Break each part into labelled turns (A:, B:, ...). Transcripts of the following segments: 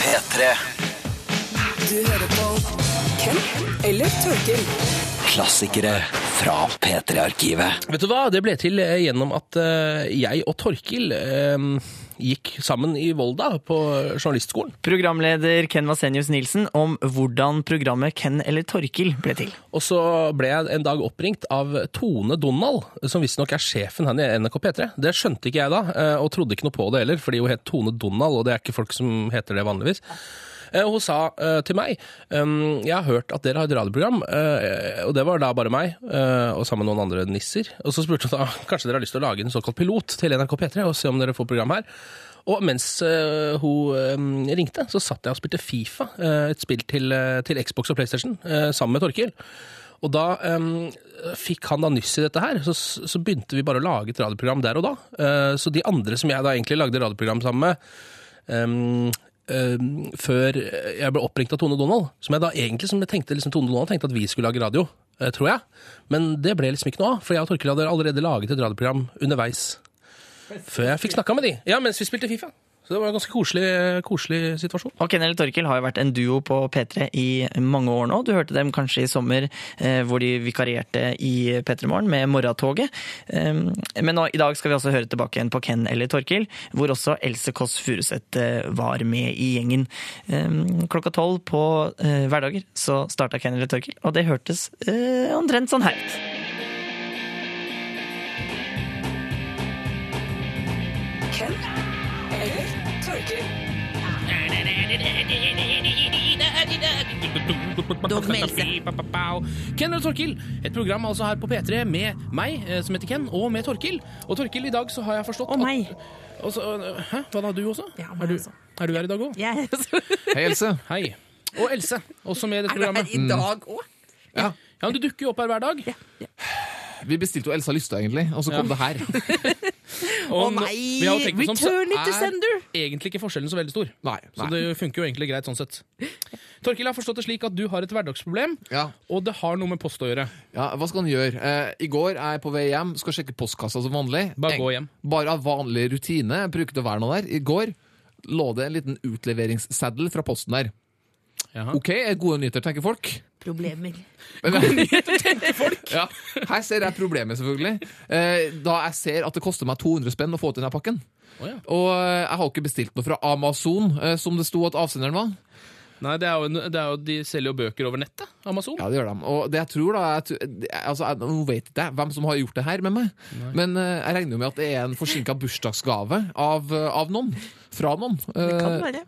A: P3
B: Du hører på Ken eller Torkil.
A: Klassikere fra P3-arkivet
C: Vet du hva, det ble til eh, gjennom at eh, jeg og Torkil eh, gikk sammen i Volda på journalistskolen.
D: Programleder Ken Vasenius Nilsen om hvordan programmet Ken eller Torkil ble til.
C: Og så ble jeg en dag oppringt av Tone Donald, som visstnok er sjefen her i NRK P3. Det skjønte ikke jeg da, eh, og trodde ikke noe på det heller, fordi hun het Tone Donald, og det er ikke folk som heter det vanligvis. Eh, Hun sa eh, til meg ehm, Jeg har hørt at dere har et radioprogram, eh, og det var da bare meg eh, og sammen med noen andre nisser. Og så spurte hun da kanskje dere har lyst til å lage en såkalt pilot til NRK P3 og se om dere får program her. Og mens eh, hun ehm, ringte, så satt jeg og spilte Fifa, eh, et spill til, eh, til Xbox og PlayStation, eh, sammen med Torkil. Og da ehm, fikk han da nyss i dette her, så, så begynte vi bare å lage et radioprogram der og da. Eh, så de andre som jeg da egentlig lagde radioprogram sammen med, ehm, ehm, før jeg ble oppringt av Tone Donald, som jeg da egentlig som jeg tenkte, liksom, Tone Donald tenkte at vi skulle lage radio, eh, tror jeg. Men det ble liksom ikke noe av, for jeg og Torkel hadde allerede laget et radioprogram underveis. Før jeg fikk snakka med de. Ja, mens vi spilte Fifa. Så det var en ganske koselig, koselig situasjon.
D: Og Ken eller Torkil har jo vært en duo på P3 i mange år nå. Du hørte dem kanskje i sommer eh, hvor de vikarierte i P3 Morgen med Morgentoget. Eh, men nå, i dag skal vi også høre tilbake igjen på Ken eller Torkil, hvor også Else Kåss Furuseth eh, var med i gjengen. Eh, klokka tolv på eh, hverdager så starta Ken eller Torkil, og det hørtes eh, omtrent sånn her ut.
B: Ken eller Torkil.
C: Dov Ken og Torkil, et program altså her på P3 med meg, eh, som heter Ken, og med Torkil. Og Torkil, i dag så har jeg forstått
E: Og meg.
C: At, og så, eh, hæ? Hva da, du også?
E: Ja,
C: er,
E: meg
C: du,
E: også.
C: er du her i dag òg?
E: Jeg er så
F: Hei, Else.
C: Hei. Og Else, også med i dette
E: Er du her
C: programmet. Mm.
E: i dag òg?
F: Ja,
C: Ja, men Du dukker jo opp her hver dag.
F: vi bestilte jo Elsa Lystad, egentlig, og så kom det her.
C: Og
E: Å
C: nå-
E: nei!
C: vi har jo tenkt oss om, så
E: Return it to
C: er
E: sender!
C: Egentlig ikke forskjellen så veldig stor.
F: Nei,
C: Så
F: nei.
C: det funker jo egentlig greit sånn sett. Torkil har forstått det slik at du har et hverdagsproblem,
F: Ja.
C: og det har noe med post å gjøre.
F: Ja, hva skal han gjøre? Eh, I går er jeg på vei hjem, skal sjekke postkassa som vanlig.
C: Bare
F: Eng-
C: gå hjem.
F: Bare av vanlig rutine. Jeg bruker ikke å være noe der. I går lå det en liten utleveringsseddel fra posten der.
C: Jaha.
F: OK, er gode nyheter, tenker folk.
E: Problemer.
F: Ja, her ser jeg problemet, selvfølgelig. Eh, da jeg ser at det koster meg 200 spenn å få ut denne pakken.
C: Å ja.
F: Og eh, jeg har jo ikke bestilt noe fra Amazon, eh, som det sto at avsenderen var.
C: Oh. Nei, det er jo, en- det er jo, De selger jo bøker over nettet. Amazon.
F: Ja, det gjør de. Og det jeg tror da jeg, tr- det- altså, jeg, Nå vet ikke jeg hvem som har gjort det her med meg, men eh, jeg regner jo med at det er en forsinka bursdagsgave av, eh, av noen. Fra noen.
E: Det kan det
F: Eh,
E: være.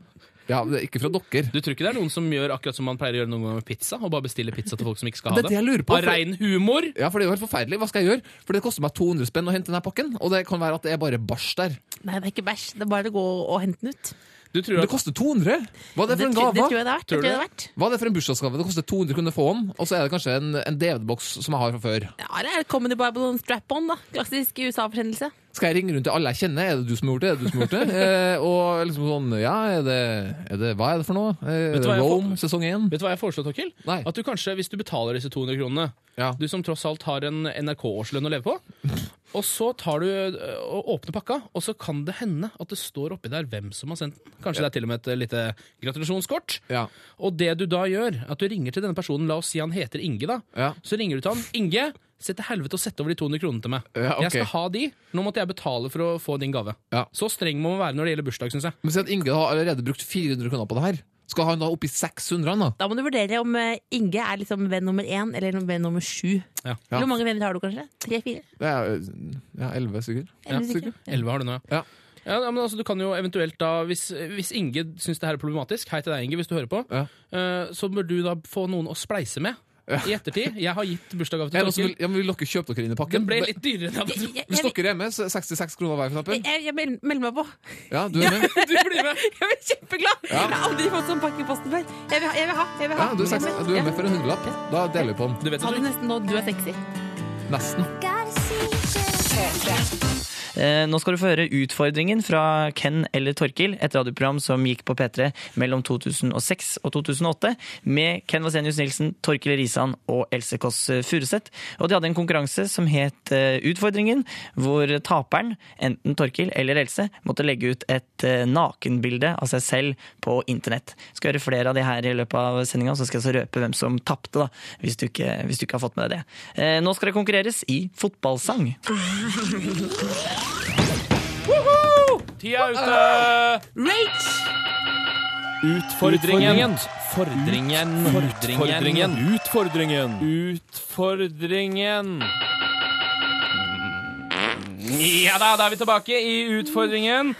F: ja, det er ikke fra dere.
C: Du tror ikke det er noen som gjør akkurat som man pleier å gjøre noen ganger med pizza? Og bare bestiller pizza til folk som ikke skal ha
F: Det
C: det?
F: er det jeg lurer på,
C: Av
F: for-
C: rein humor?
F: Ja, for det er jo helt forferdelig. Hva skal jeg gjøre? For det koster meg 200 spenn å hente denne pakken, og det kan være at det er bare bæsj der.
E: Nei, det er ikke bæsj. Det er bare å gå og hente den ut.
C: Du tror
F: Det
C: at
F: koster 200! Hva er det for en
E: tror- det tror
F: gave?
E: jeg det er verdt.
C: Tror
E: Det
C: du
E: tror jeg det er verdt.
F: Hva er det for en bursdagsgave? Det koster 200 kroner å få den, og så er det kanskje en, en DVD-boks som jeg har fra før.
E: Ja, eller er det Comedy Bible og en strap-on, da? Klassisk USA-forsendelse.
F: Skal jeg ringe rundt til alle jeg kjenner? Er det du som har gjort det? Er det du som har gjort det? Eh, og liksom sånn, ja, er det, er det Hva er det for noe? Eh,
C: Vet du hva jeg
F: Rome sesong én?
C: Vet du hva jeg foreslår, Torkil?
F: Nei.
C: At du kanskje, hvis du betaler disse 200 kronene
F: Ja.
C: Du som tross alt har en NRK-årslønn å leve på. Og så tar du ø, og åpner pakka, og så kan det hende at det står oppi der hvem som har sendt den. Kanskje det er til og med et ø, lite gratulasjonskort.
F: Ja.
C: Og det du da gjør, at du ringer til denne personen, la oss si han heter Inge, da.
F: Ja.
C: Så ringer du til han. 'Inge, se til helvete og sett over de 200 kronene til meg.'
F: Ja, ok.
C: 'Jeg skal ha de. Nå måtte jeg betale for å få din gave.'
F: Ja.
C: Så streng må man være når det gjelder bursdag, syns jeg.
F: Men si at Inge har allerede brukt 400 kroner på det her. Skal han da opp i 600? han da?
E: Da må du vurdere om eh, Inge er liksom venn nummer én eller venn nummer sju.
C: Ja.
F: Ja.
E: Hvor mange venner har du, kanskje? Tre-fire?
F: Det er ja, 11, sikkert.
C: Ja,
E: sikkert.
C: 11 har du nå, ja.
F: Ja.
C: Ja, men altså, du kan jo eventuelt da, Hvis, hvis Inge syns det her er problematisk, hei til deg, Inge, hvis du hører på,
F: Ja.
C: eh, så bør du da få noen å spleise med i ettertid. Jeg har gitt bursdagsgave til
F: Er det noen som vil,
C: Torkil.
F: ja, men vil dere kjøpe dere inn i pakken?
C: Den ble litt dyrere enn jeg trodde.
E: Jeg,
F: Hvis
E: jeg,
F: dere er med, så er 66 kroner hver, for
E: jeg,
F: eksempel.
E: jeg, jeg mel- melder meg på.
F: Ja, du er med?
C: Du blir med!
E: Jeg blir kjempeglad!
F: Ja.
E: Jeg har aldri fått sånn pakke i posten før. Jeg vil ha, jeg vil ha. Jeg vil ha.
F: Ja, du, er seks, du er med for en hundrelapp. Da deler vi på den.
C: Du vet
E: Sa
C: at
E: du
C: du,
E: nesten nå du er sexy?
F: Nesten.
D: Eh, Nå skal du få høre utfordringen fra Ken eller Torkil, et radioprogram som gikk på P3 mellom 2006 og 2008, med Ken Vasenius Nilsen, Torkil Risan og Else Kåss Furuseth. Og de hadde en konkurranse som het eh, Utfordringen, hvor taperen, enten Torkil eller Else, måtte legge ut et eh, nakenbilde av seg selv på internett. Skal gjøre flere av de her i løpet av sendinga, så skal jeg så røpe hvem som tapte, da, hvis du, ikke, hvis du ikke har fått med deg det. Eh, Nå skal det konkurreres i fotballsang.
C: Tida er ute! Utfordringen. Fordringen. Utfordringen. Utfordringen. Utfordringen. Ja da, da er vi tilbake i Utfordringen.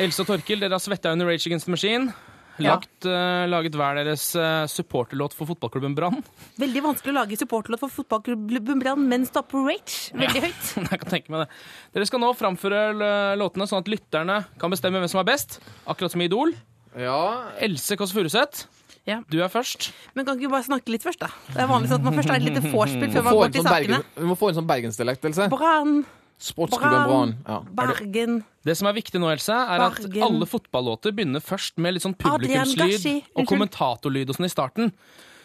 C: Else og Torkil, dere har svetta under Rage Against the Machine. Lagt, eh, laget hver deres eh, supporterlåt for fotballklubben Brann.
E: Veldig vanskelig å lage supporterlåt for fotballklubben Brann, men stopper Rage veldig høyt.
C: Jeg kan tenke meg det. Dere skal nå framføre l- låtene sånn at lytterne kan bestemme hvem som er best. Akkurat som i Idol.
F: Ja,
C: Else Kåss Furuseth,
E: Ja.
C: du er først.
E: Men kan ikke vi bare snakke litt først, da? Det er vanlig sånn at man først har et lite vorspiel før man
F: få
E: går
F: en
E: til
F: sånn
E: sakene.
F: Bergen, vi må få en sånn bergensdialekt, Else.
E: Brann,
F: Sportsklubben
E: Brann,
F: Brann. Ja.
E: Bergen,
C: Det som er viktig nå, Else, er at
E: Bergen.
C: alle fotballåter begynner først med litt sånn
E: Adrian Gashi.
C: publikumslyd og
E: Unnskyld.
C: kommentatorlyd og sånn i starten.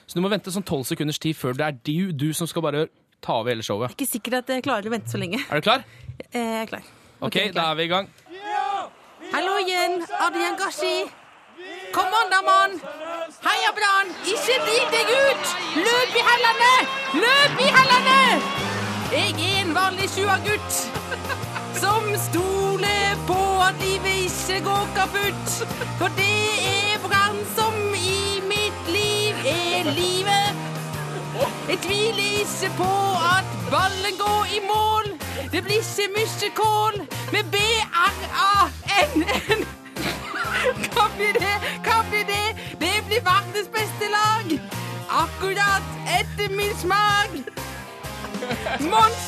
C: Så du må vente sånn tolv sekunders tid før det er du, du som skal bare ta over hele showet.
E: Ikke sikkert at jeg klarer å vente så lenge.
C: Er du klar?
E: Eh, Jeg er klar.
C: Ok, da er vi i gang.
E: Hallo igjen, Adrian Gashi. Kom on, da, mann! Heia Brann! Ikke drit deg ut! Løp i hellene! Løp i hellene! Jeg er en vanlig sjuagutt som stoler på at livet ikke går kaputt. For det er Brann som i mitt liv er livet. Jeg tviler ikke på at ballen går i mål. Det blir ikke mye kål med B-R-A-N-N. Hva blir det? Hva blir det? Det blir verdens beste lag. Akkurat etter min smak. Mons,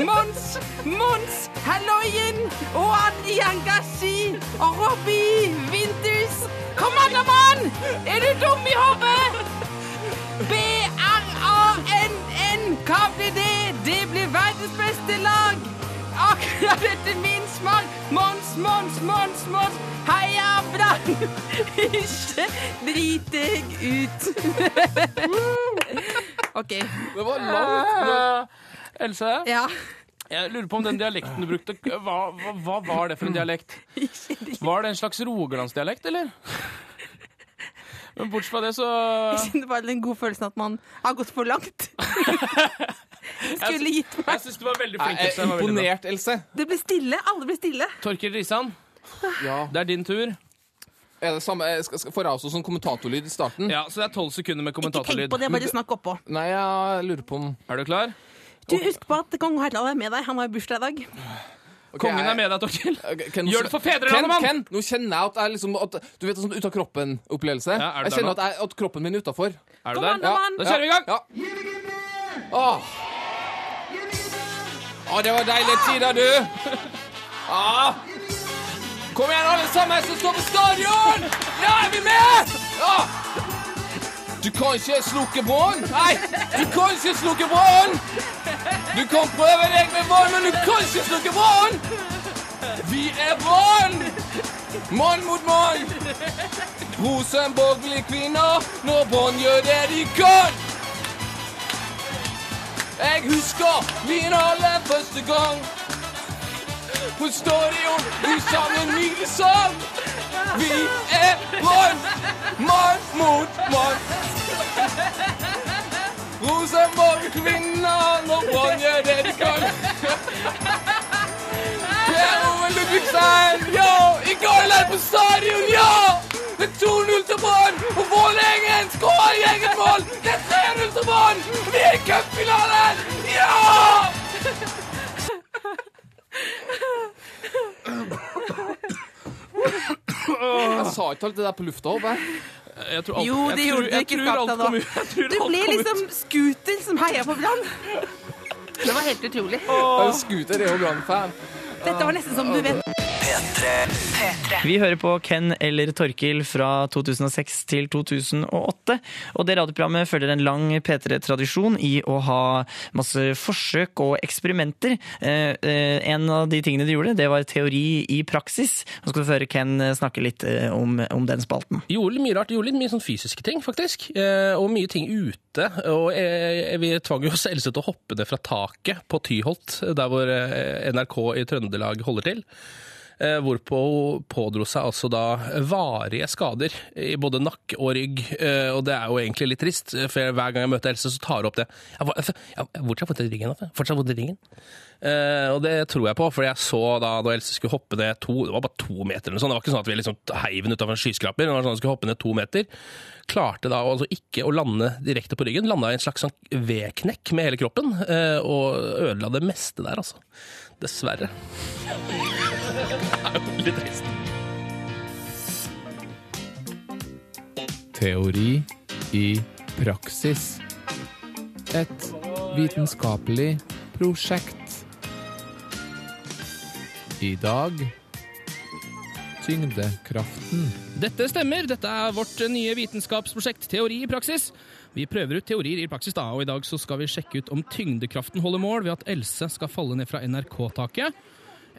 E: Mons, Mons, Halloien og Adrian Gashi og Robbie Winters. Kommandomann, er du dum i hodet? B-R-A-N-N. Hva blir det? Det blir verdens beste lag. Akkurat etter min smak. Mons, Mons, Mons, Mons. Heia Brann! Ikke drit deg ut. OK.
F: Det var langt.
C: Eh, Else,
E: Ja.
C: jeg lurer på om den dialekten du brukte, hva, hva, hva var det for en dialekt? Var det en slags rogalandsdialekt, eller? Men bortsett fra det, så
E: Jeg kjenner bare den gode følelsen at man har gått for langt. Skulle gitt meg
C: Jeg syns du var veldig flink.
F: Jeg
C: Else.
F: er
C: Det var veldig bra.
F: imponert, Else.
E: Det ble stille. Alle ble stille.
C: Torkil Risan,
F: Ja.
C: det er din tur.
F: Er det samme, eh, skal- skal- får jeg også sånn kommentatorlyd i starten?
C: Ja, Så det er tolv sekunder med
E: Ikke tenk
C: kommentatorlyd.
E: på det, bare snakk oppå.
F: Nei, jeg lurer på om
C: Er du klar?
E: Du, Husk på at kong Harald er med deg. Han har jo bursdag i dag.
C: Kongen er
F: jeg-
C: med deg, Torkil.
F: Ok, Ken, nå-
C: Gjør det for fedrelandet,
F: Ken,
C: mann!
F: Ken, nå kjenner jeg at jeg liksom at, Du vet en sånn
C: Ja,
F: ut-av-kroppen-opplevelse?
C: er du
F: jeg
C: der
F: kjenner
C: nå?
F: at, jeg, at kroppen min er utafor.
C: Er du
E: Kom an,
C: der?
E: da, mann!
C: Da kjører vi i gang!
F: Ja. Åh. Å, det var deilige tider, du! Ah. Kom igjen, alle sammen som står på stadion! Ja, er vi med? Ja. Du kan ikke slukke bånd. Nei, du kan ikke slukke bånd! Du kan prøve deg med bånd, men du kan ikke slukke bånd! Vi er bånd! Mann mot mann. Rosenborg blir kvinner når bånd gjør det de kan. Jeg husker min aller første gang På stadion vi sang en nydelig sang Vi er Brann Mann mot mann Rosenborg kvinner Når Brann gjør det de kan Per Ove Ludvigsen Ja, i går er på stadion Ja, det er 2-0 til Brann Og Vålerengen skårer i eget mål Det er 3-0 til Brann Vi er i cupfinalen Ja! Jeg sa ikke alt det der på lufta, håper jeg.
C: Jeg tror alt-
E: Jo,
C: jeg
E: det
C: tror-
E: gjorde du
C: jeg
E: ikke.
C: tror
E: Slapp
C: alt
E: deg
C: kom
E: nå.
C: ut. Jeg tror
E: Du
C: alt
E: ble
C: kom ut.
E: liksom scooter som heia på Brann. Det var helt utrolig.
F: Jeg er jo Scooter er jo Brann-fan.
E: Dette var nesten som du vet.
G: P3.
D: Vi hører på Ken eller Torkil fra 2006 til 2008. Og det radioprogrammet følger en lang P3-tradisjon i å ha masse forsøk og eksperimenter. Eh, eh, En av de tingene de gjorde, det var teori i praksis. Nå skal du få høre Ken snakke litt eh, om, om den spalten.
C: Gjorde mye rart. Gjorde litt mye sånn fysiske ting, faktisk. Eh, og mye ting ute. Og eh, vi tvang jo oss Else til å hoppe ned fra taket på Tyholt, der hvor eh, NRK i Trøndelag holder til. Eh, hvorpå hun pådro seg altså da varige skader i både nakke og rygg. Eh, og det er jo egentlig litt trist, for jeg- hver gang jeg møter Else, så tar hun opp det. Jeg, var- altså, jeg, jeg, hvor har jeg fått det i ryggen? altså? Fortsatt vondt i ryggen. Eh, og det tror jeg på, for jeg så da da Else skulle hoppe ned to Det var bare to meter eller noe sånt. Det var ikke sånn at vi liksom heiv henne utafor en skyskraper. Det var sånn at hun skulle hoppe ned to meter. Klarte da altså ikke å lande direkte på ryggen. Landa i en slags sånn vedknekk med hele kroppen, eh, og ødela det meste der, altså. Dessverre. Det er jo litt trist.
H: Teori i praksis. Et vitenskapelig prosjekt. I dag tyngdekraften.
I: Dette stemmer. Dette er vårt nye vitenskapsprosjekt Teori i praksis. Vi prøver ut teorier i praksis, da, og i dag så skal vi sjekke ut om tyngdekraften holder mål ved at Else skal falle ned fra NRK-taket.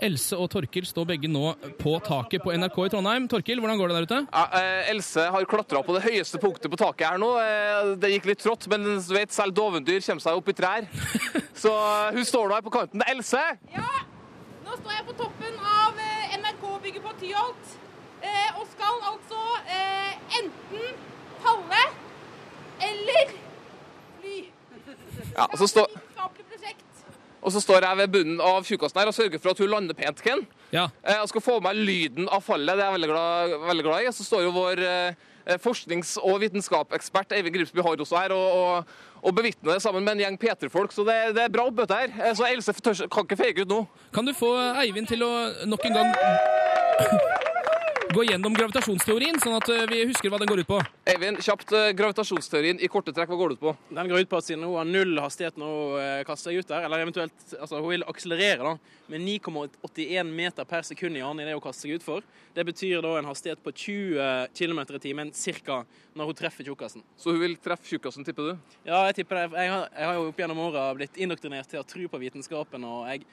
I: Else og Torkil står begge nå på taket på NRK i Trondheim. Torkil, hvordan går det der ute?
F: Ja, eh, Else har klatra på det høyeste punktet på taket her nå. Eh, Det gikk litt trått, men du vet, selv dovendyr kommer seg opp i trær. Så eh, hun står nå her på kanten. Else!
J: Ja, nå står jeg på toppen av eh, NRK-bygget på Tyholt. eh, Og skal altså eh, enten falle eller fly.
F: Ja, og, så stå,
J: Vitenskapelig prosjekt.
F: og så står jeg ved bunnen av tjukkasen her og sørger for at hun lander pent, Ken.
I: Ja.
F: Eh, Jeg skal få med meg lyden av fallet, det er jeg veldig glad, veldig glad i. Så står jo vår eh, forsknings- og vitenskapsekspert Eivind Gripsby har også her og, og, og bevitner det sammen med en gjeng P3-folk, så det, det er bra oppbøte her. Eh, Så Else tør, kan ikke fake ut nå.
I: Kan du få Eivind til å nok en gang gå gjennom gravitasjonsteorien, sånn at vi husker hva den går ut på?
F: Eivind, kjapt eh, gravitasjonsteorien i korte trekk, hva går det ut på?
K: Den går ut på at siden hun har null hastighet når hun eh, kaster seg ut der, eller eventuelt altså hun vil akselerere da, med 9,81 meter per sekund i annen i det hun kaster seg ut for. Det betyr da en hastighet på 20 km i timen cirka når hun treffer tjukkasen.
F: Så hun vil treffe tjukkasen, tipper du?
K: Ja, jeg tipper det. Jeg har, jeg har jo opp gjennom åra blitt indoktrinert til å tro på vitenskapen, og jeg,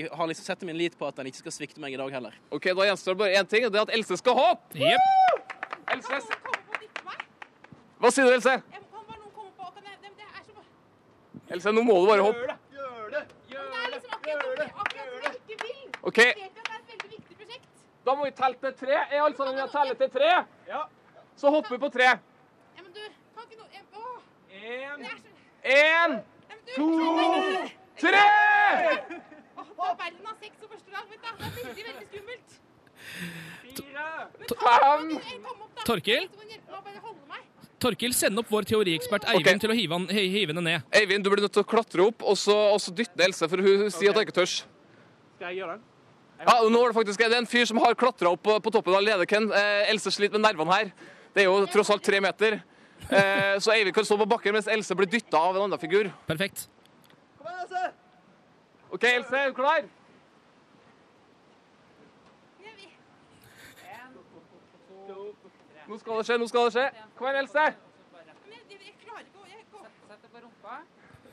K: jeg har liksom sett min lit på at den ikke skal svikte meg i dag heller.
F: Ok, Da gjenstår det bare én ting, og det er at Else skal hoppe!
I: Jepp.
F: Else,
J: Kommer på å dytte meg.
F: Hva sier du, Else?
J: Jeg kan bare noen komme på kan jeg, det, det er så Det
F: Else, Nå må du bare hoppe.
J: er liksom akkurat som jeg- akkurat som jeg ikke vil.
F: OK,
J: Jeg vet at det er et veldig viktig prosjekt.
F: da må vi telle til tre. Er altså alle sammen med å telle til tre? Ja. Så hopper vi på tre.
J: Ja, men du, kan ikke noe jeg, Åh! Det er så
F: Én,
J: Ja, men du, to
F: tre!
J: Verden har sex og første dag, vet du. Det er veldig, veldig skummelt.
F: Fem
J: Jeg kom opp da.
I: Torkil?
J: Så kan du hjelpe meg å bare holde meg.
I: Torkil, send opp vår teoriekspert Eivind til å hive, han, hi- hive henne ned.
F: Eivind, du blir nødt til å klatre opp og så, og så dytte ned Else, for hun sier at hun ikke tørs.
K: Skal jeg gjøre den?
F: Ja, og nå er Det faktisk det er en fyr som har klatra opp på, på toppen av Ledeken. Eh, Else sliter med nervene her. Det er jo tross alt tre meter. Eh, så Eivind kan stå på bakken mens Else blir dytta av en annen figur.
I: Perfekt.
F: OK, Else, er du klar? Nå skal det skje, nå skal det skje. Kom igjen, Else.
J: Men jeg, jeg, jeg klarer ikke å jeg går.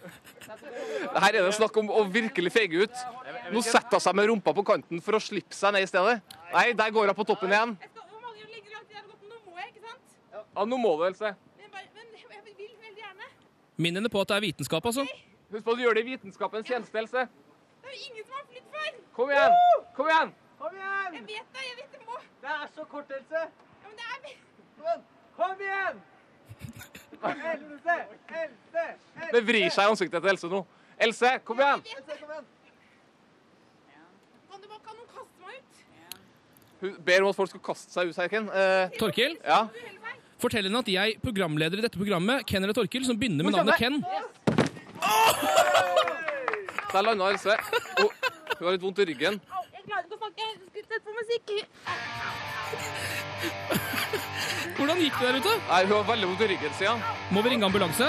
F: Her er det snakk om å virkelig feige ut. Nå setter hun seg med rumpa på kanten for å slippe seg ned i stedet. Nei, der går hun på toppen igjen.
J: Jeg skal, hvor mange legger langt jeg har gått? Nå må jeg, ikke sant?
F: Ja, nå må du, Else.
J: Men, jeg bare, men jeg vil veldig gjerne.
I: Minn henne på at det er vitenskap, altså.
F: Husk på at du gjør det i vitenskapens tjeneste, Else.
J: Det er jo ingen som har flytt før.
F: Kom igjen! Kom igjen!
J: Jeg vet det, jeg vet det må.
K: Det er så kort, Else!
J: Ja, men det er
K: Kom igjen! Else! Else!
F: Det vrir seg i ansiktet til Else nå. Else, kom igjen!
J: Kan du bare kan noen kaste meg ut?
F: Hun ber om at folk skal kaste seg ut her, Ken. Eh,
I: Torkil,
F: ja.
I: fortell henne at jeg, programleder i dette programmet, Ken eller Torkil, som begynner med navnet Ken.
F: Der landa Else. Hun- hun har litt vondt i ryggen.
J: Au, jeg klarer ikke å snakke. Jeg skulle sett på musikk.
I: Hvordan gikk det der ute?
F: Nei, hun har veldig vondt i ryggen, sier han.
I: Må vi ringe ambulanse?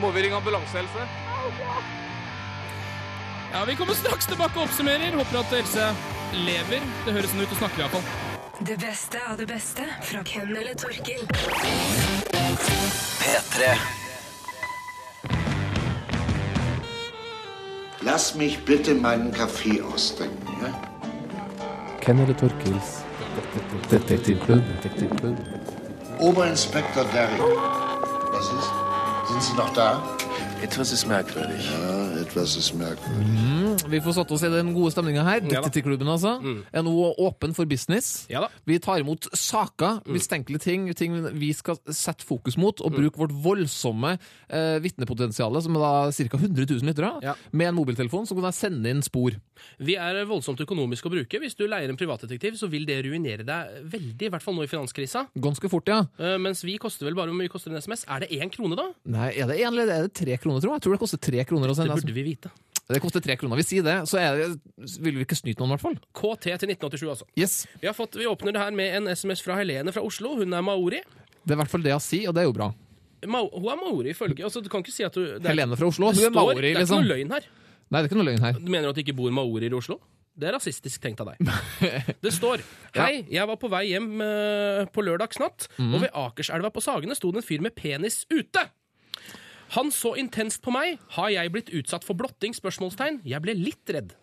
F: Må vi ringe ambulanse, Else?
C: Ja, Vi kommer straks tilbake og oppsummerer. Håper at Else lever. Det høres sånn ut. Hun snakker iallfall.
B: Det beste av det beste fra Ken eller Torkil.
A: P3.
L: Lass mich bitte meinen Kaffee ausdenken, ja?
F: Ken eller Torkils Detektivklubb. Detektivklubb.
L: Oberinspektor Derrick. Was ist? Sind Sie noch da? Etwas ist merkwürdig. Ja, etwas ist merkwürdig.
F: Mm, vi får satt oss i den gode stemninga her. Detektivklubben, altså. Er nå åpen for business.
C: Ja da.
F: Vi tar imot saker, mistenkelige ting, ting vi skal sette fokus mot, og bruke vårt voldsomme eh, vitnepotensial, som er da ca. 100 000 lyttere,
C: Ja.
F: med en mobiltelefon som kan jeg sende inn spor.
C: Vi er voldsomt økonomiske å bruke. Hvis du leier en privatdetektiv, så vil det ruinere deg veldig, i hvert fall nå i finanskrisa.
F: Ganske fort, ja.
C: Eh, Mens vi koster vel bare hvor mye koster en SMS? Er det én krone, da?
F: Nei, er det én eller er det tre kroner, tror jeg? Jeg tror det koster tre kroner
C: Det
F: å sende.
C: burde vi vite.
F: Det koster tre kroner. Vi sier det, så er det, vil vi ikke snyte noen, i hvert fall.
C: KT til 1987, altså.
F: Yes.
C: Vi, har fått, vi åpner det her med en SMS fra Helene fra Oslo. Hun er maori.
F: Det er i hvert fall det jeg sier, og det er jo bra.
C: Ma hun er maori, ifølge altså, Du kan ikke si at du det er-
F: Helene fra Oslo.
C: Det
F: Hun er
C: står-
F: maori,
C: Det er ikke
F: liksom.
C: noe
F: Nei,
C: løgn her.
F: det er ikke noe løgn her.
C: Du mener at det ikke bor maorier i Oslo? Det er rasistisk tenkt av deg. Det står Hei, jeg var på vei hjem eh, på lørdagsnatt, og ved Akerselva på Sagene sto det en fyr med penis ute. Han så intenst på meg. Har jeg blitt utsatt for blotting? Spørsmålstegn. Jeg ble litt redd.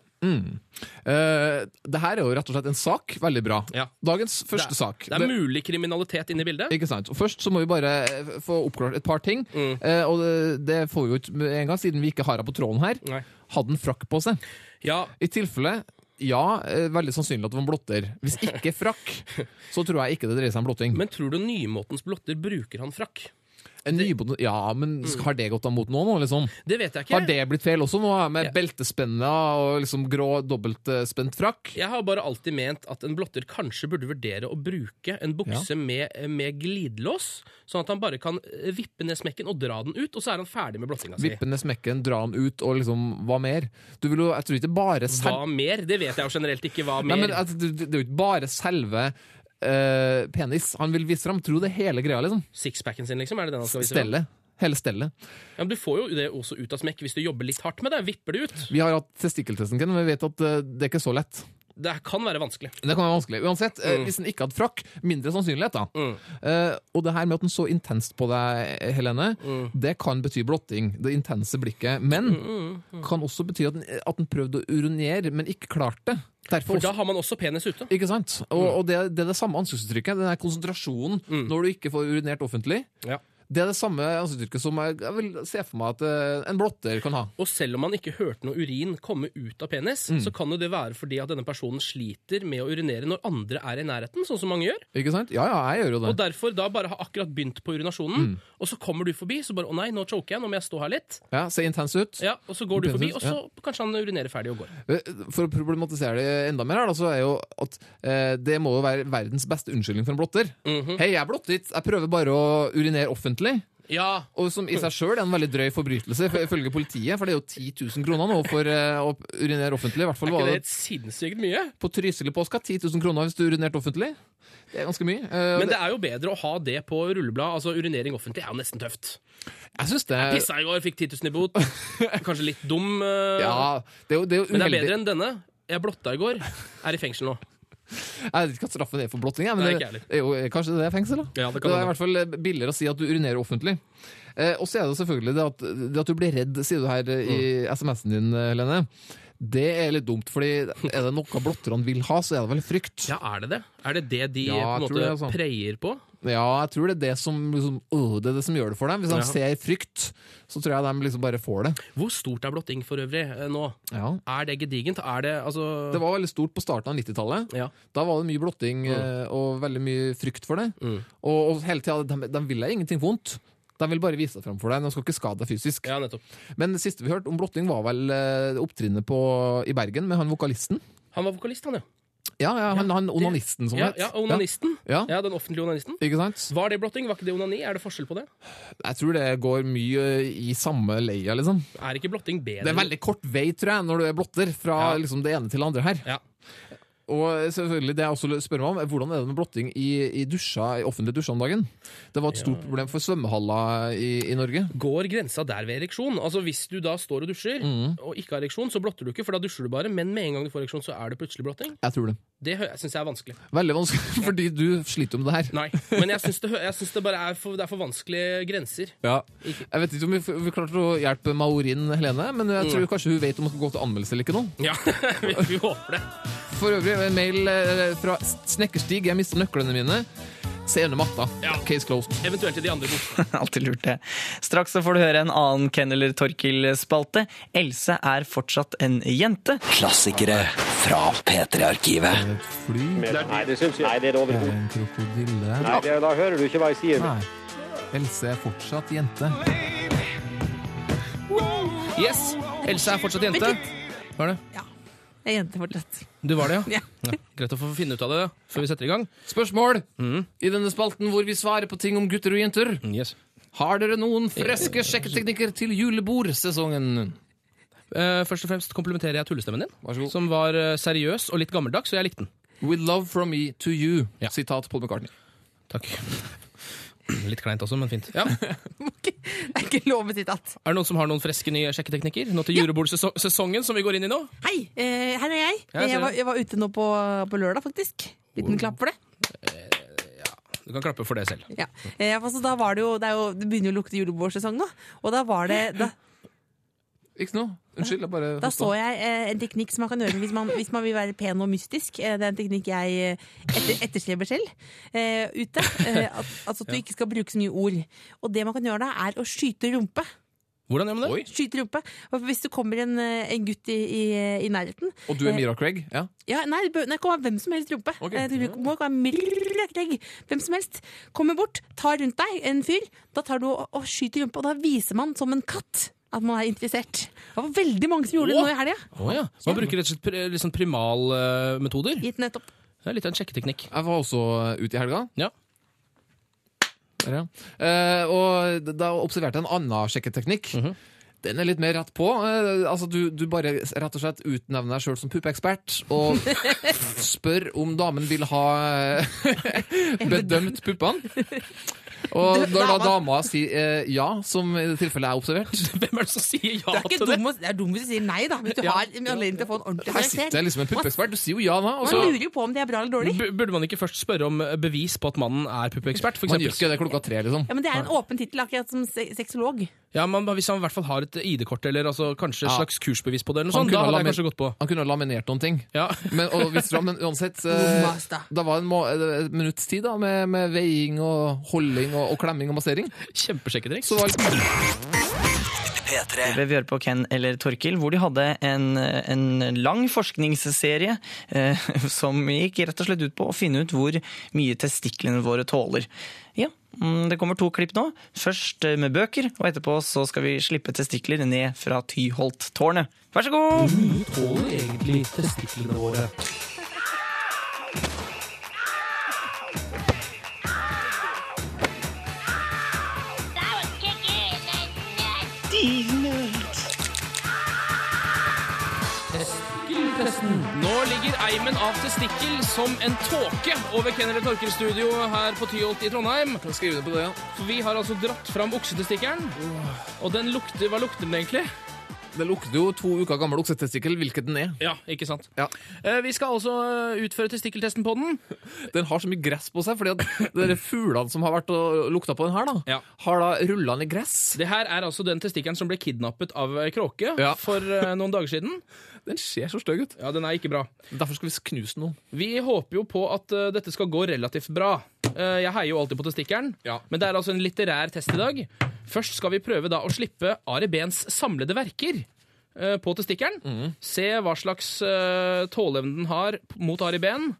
F: Eh, det her er jo rett og slett en sak. Veldig bra.
C: Ja.
F: Dagens første
C: Det-
F: sak.
C: Det er mulig kriminalitet inne i bildet.
F: ikke sant? Og først så må vi bare eh, få oppklart et par ting.
C: Mm.
F: Eh, og det, det får vi jo ut med en gang, siden vi ikke har henne på tråden her.
C: Nei.
F: Hadde han frakk på seg?
C: Ja,
F: I tilfelle ja, eh, veldig sannsynlig at det var en blotter. Hvis ikke frakk, så tror jeg ikke det dreier seg om blotting.
C: Men tror du nymåtens blotter bruker han frakk?
F: en nybod... Ja, men har det gått av mot nå, nå, liksom?
C: Det vet jeg ikke.
F: Har det blitt feil også nå, med
C: Ja.
F: beltespenne og liksom grå dobbeltspent frakk?
C: Jeg har bare alltid ment at en blotter kanskje burde vurdere å bruke en bukse med, eh, med glidelås, sånn at han bare kan vippe ned smekken og dra den ut, og så er han ferdig med blottinga si.
F: Vippe ned smekken, dra den ut, og liksom, hva mer? Du vil jo, jeg tror ikke bare
C: Hva
F: sel-
C: mer? Det vet jeg jo generelt ikke hva
F: Nei,
C: mer.
F: men, altså, det, det er jo ikke bare selve eh, penis. Han vil vise fram, tro det hele greia, liksom.
C: Sixpacken sin, liksom? Er det den han skal vise? fram?
F: Stellet. Hele stellet.
C: Ja, men du får jo det også ut av smekk hvis du jobber litt hardt med det. Vipper det ut.
F: Vi har hatt testikkeltesten, Ken, men vi vet at eh, det er ikke så lett.
C: Det kan være vanskelig. Mm.
F: Det kan være vanskelig. Uansett, eh, hvis den ikke hadde frakk, mindre sannsynlighet, da. Eh, og det her med at den så intenst på deg, Helene, det kan bety blotting. Det intense blikket. Men kan også bety at den, at den prøvde å urinere, men ikke klarte det. Derfor
C: For da
F: også,
C: har man også penis ute.
F: ikke sant? Og, og det, det er det samme ansiktsuttrykket, den her konsentrasjonen når du ikke får urinert offentlig.
C: Ja.
F: Det er det samme ansiktsuttrykket som jeg, jeg vil se for meg at eh, en blotter kan ha.
C: Og selv om man ikke hørte noe urin komme ut av penis,
F: Mm.
C: så kan jo det være fordi at denne personen sliter med å urinere når andre er i nærheten, sånn som mange gjør.
F: Ikke sant? Ja, ja, jeg gjør jo det. Mm.
C: Og derfor da bare har akkurat begynt på urinasjonen, og så kommer du forbi, så bare 'Å nei, nå choker jeg, nå må jeg stå her litt'.
F: Ja, Ser intens ut.
C: Ja, Og så går du forbi,
F: Penis,
C: og så kanskje han urinerer ferdig og går.
F: For å problematisere det enda mer, her, da, så er jo at eh, det må jo være verdens beste unnskyldning for en blotter.
C: Mhm.
F: Hei, jeg er blottet. Jeg prøver bare å urinere offentlig.
C: Ja,
F: Og som i seg sjøl er en veldig drøy forbrytelse, for- ifølge politiet. For det er jo 10 000 kroner nå for eh, å urinere offentlig. I hvert fall
C: Er ikke
F: var
C: det
F: det
C: et sinnssykt mye?
F: på Trysil i påska. 10 000 kroner hvis du urinerte offentlig. Det er ganske mye. Eh, og
C: Men
F: det,
C: det er jo bedre å ha det på rulleblad. Altså Urinering offentlig er jo nesten tøft.
F: jeg syns det
C: Pissa i går, fikk 10 000 i bot. Kanskje litt dum. eh,
F: Ja, det er jo, det er jo
C: men det er
F: uheldig.
C: bedre enn denne. Jeg blotta i går. Er i fengsel nå.
F: Jeg vet ikke hva straffen er for blotting, jeg, men
C: Nei,
F: det,
C: ikke jeg heller.
F: er jo, kanskje det er fengsel? da?
C: Ja, det kan
F: det er i
C: hende.
F: hvert fall eh, billigere å si at du urinerer offentlig. Eh, og så er det selvfølgelig det at, det at du blir redd, sier du her eh, i
C: Mm.
F: SMS-en din, eh, Helene. Det er litt dumt, fordi er det noe blotterne vil ha, så er det vel frykt.
C: Ja, er det det? Er det det de
F: Ja,
C: på en
F: jeg tror
C: måte
F: det, altså.
C: preier på?
F: Ja, jeg tror det er det som, liksom, øh, det er det som gjør det for dem. Hvis
C: Ja.
F: de ser frykt, så tror jeg de liksom bare får det.
C: Hvor stort er blotting for øvrig eh, nå?
F: Ja.
C: Er det gedigent? Er det altså
F: Det var veldig stort på starten av 90-tallet.
C: Ja. Mm.
F: Da var det mye blotting eh, og veldig mye frykt for det. Og, og hele tida, de, de vil deg ingenting vondt. De vil bare vise deg fram for deg. De skal ikke skade deg fysisk.
C: Ja, nettopp.
F: Men det siste vi hørte om blotting, var vel eh, opptrinnet på, i Bergen med han vokalisten.
C: Han var vokalist, han, ja.
F: Ja, ja han, han onanisten, som
C: Ja,
F: het.
C: ja, onanisten.
F: Ja.
C: Ja, den offentlige onanisten.
F: Ja, Ikke sant?
C: Var det blotting? Var ikke det onani? Er det forskjell på det?
F: Jeg tror det går mye eh, i samme leia, liksom.
C: Er
F: Mm.
C: ikke blotting bedre?
F: Det er veldig kort vei, tror jeg, når du er blotter, fra
C: Ja.
F: liksom, det ene til det andre her.
C: Ja.
F: Og selvfølgelig, det jeg også spør meg om, er hvordan er det med blotting i, i dusjer, i offentlige dusjer om dagen? Det var et stort problem for svømmehaller i, i Norge.
M: Går grensa der ved ereksjon? Altså Hvis du da står og dusjer
F: Mm.
M: og ikke har ereksjon, så blotter du ikke, for da dusjer du bare. Men med en gang du får ereksjon, så er det plutselig blotting.
F: Jeg tror det.
M: Det syns jeg er vanskelig.
F: Veldig vanskelig, fordi du sliter jo med det her.
M: Nei, men jeg syns det, hø- jeg synes det bare er for, det er for vanskelige grenser.
F: Ja. Jeg vet ikke om vi, f- vi klarte å hjelpe Maurin Helene, men jeg tror kanskje hun vet om hun skal gå til anmeldelse eller ikke nå.
M: Ja, vi, vi håper det.
F: For øvrig, en mail eh, fra Snekkerstig. Jeg mista nøklene mine. Se under matta. Case closed.
M: Eventuelt til de andre bokene.
D: Alltid lurt, det. Straks så får du høre en annen Ken eller Torkil-spalte. Else er fortsatt en jente.
A: Klassikere fra P3-arkivet.
F: Fly
N: Nei, det syns jeg. Nei, det er overhodet
F: en krokodille
N: Nei, det, da hører du ikke hva jeg sier.
F: Nei. Else er fortsatt jente.
M: Yes, Else er fortsatt jente. Var det?
E: Jeg er jente fortsatt.
M: Du var det,
E: Ja.
M: ja? ja. Greit å få finne ut av det før vi setter i gang.
F: Spørsmål i denne spalten hvor vi svarer på ting om gutter og jenter.
M: Mm. Yes.
F: Har dere noen friske sjekketeknikker til julebordsesongen?
M: Eh, først og fremst komplimenterer jeg tullestemmen din,
F: Vær så god.
M: som var eh, seriøs og litt gammeldags, og jeg likte den.
F: With love from me to you.
M: Ja.
F: Sitat Paul McCartney.
M: Takk. Litt kleint også, men fint. Ja. Er
E: Det er ikke lov med sitat.
M: det noen som har noen freske nye sjekketeknikker? Nå til julebordsesongen som vi går inn i nå?
E: Hei, eh, her er jeg.
M: Ja, jeg ser
E: Jeg var,
M: det.
E: jeg var ute nå på, på lørdag, faktisk. Liten klapp for det.
M: Du kan klappe for det selv.
E: Ja. Eh, altså, da var det, jo, det, er jo, det begynner jo å lukte julebordsesong nå. Og da var det da,
F: Ikke noe? Unnskyld, jeg bare
E: Da så jeg eh, en teknikk som man kan gjøre hvis man, hvis man vil være pen og mystisk. Eh, det er en teknikk jeg eh, etter, etterstreber selv eh, ute. Eh, at, altså at du ikke skal bruke så mye ord. Og det man kan gjøre da, er å skyte rumpe.
M: Hvordan gjør man det?
E: Skyte rumpe. Og Hvis det kommer en, eh, en gutt i, i, i nærheten
F: Og du er Mira Craig? Ja.
E: ja, Nei, det bør- nei, det kan være hvem som helst rumpe.
F: Ok.
E: Eh, Det må ikke være mrrrregg. Hvem som helst. Kommer bort, tar rundt deg en fyr. Da tar du og, og skyter rumpe, og da viser man som en katt at man er interessert. Det var veldig mange som gjorde det nå i helga.
M: Å ja. Man bruker rett og slett pri- litt sånn primalmetoder.
E: Gitt nettopp.
M: Det er litt av en sjekketeknikk.
F: Jeg var også eh, ute i helga.
M: Ja.
F: Der, ja. Eh, og da observerte jeg en annen sjekketeknikk. Den er litt mer rett på. Eh, altså du, du bare rett og slett utnevner deg sjøl som puppeekspert og spør om damen vil ha eh, bedømt puppene. Og når da dama sier eh, ja, som i det tilfellet jeg observert
M: Hvem er det som sier ja
E: Det er, ikke
M: til det?
E: dum, å- det er dum hvis du sier nei, da. Hvis du har anledning til å få en ordentlig
F: Her sitter
E: karakter.
F: jeg liksom en puppeekspert. Du sier jo ja da. Og
E: Man
F: så,
E: lurer jo på om det er bra eller dårlig.
M: Bu- Burde man ikke først spørre om bevis på at mannen er puppeekspert? for
F: man gjør
M: eksempel?
F: ikke det klokka tre, liksom.
E: Ja, men Det er en åpen tittel, akkurat som se sexolog.
K: Eh,
M: Ja, men Hvis han i hvert fall har et ID-kort eller altså, kanskje et
F: Ja.
M: slags kursbevis på det, eller noe
F: Han
M: sånt, da
F: kunne ha
M: hadde jeg
F: laminert-
M: kanskje gått på.
F: Han kunne ha laminert noen ting.
M: Ja.
F: Men, og visste du, men uansett eh,
E: Master.
F: Da var det en må- eh, et minutts tid da, med, med veiing og holding og, og klemming og massering.
M: Kjempesjekketriks.
F: Så var det
A: P3.
D: Vi høre på Ken eller Torkil, hvor de hadde en, en lang forskningsserie eh, som gikk rett og slett ut på å finne ut hvor mye testiklene våre tåler. Ja, mm, det kommer to klipp nå. Først eh, med bøker, og etterpå så skal vi slippe testikler ned fra Tyholt-tårnet. Vær så god!
C: Nå ligger eimen av testikkel som en tåke over Kennery Torkels studio her på Tyholt i Trondheim.
F: skrivende på det, ja.
C: For vi har altså dratt fram oksetestikkelen, og den lukter Hva lukter den egentlig?
F: Det lukter jo to uker gammel oksetestikkel, hvilket den er.
C: Ja, ikke sant?
F: Ja.
C: Eh, Vi skal altså eh, utføre testikkeltesten på den.
F: Den har så mye gress på seg, fordi at de der fuglene som har vært og lukta på den her, da,
C: Ja.
F: har da rulla den i gress.
C: Det her er altså den testikkelen som ble kidnappet av ei kråke
F: Ja.
C: for eh, noen dager siden.
F: Den ser så stygg ut.
C: Ja, den er ikke bra.
F: Derfor skal vi knuse den nå.
C: Vi håper jo på at eh, dette skal gå relativt bra. Eh, jeg heier jo alltid på testikkelen,
F: Ja.
C: men det er altså en litterær test i dag. Først skal vi prøve da å slippe Ari Behns samlede verker eh, på testikkelen.
F: Mhm.
C: Se hva slags uh, tåleevne den har p- mot Ari Behn.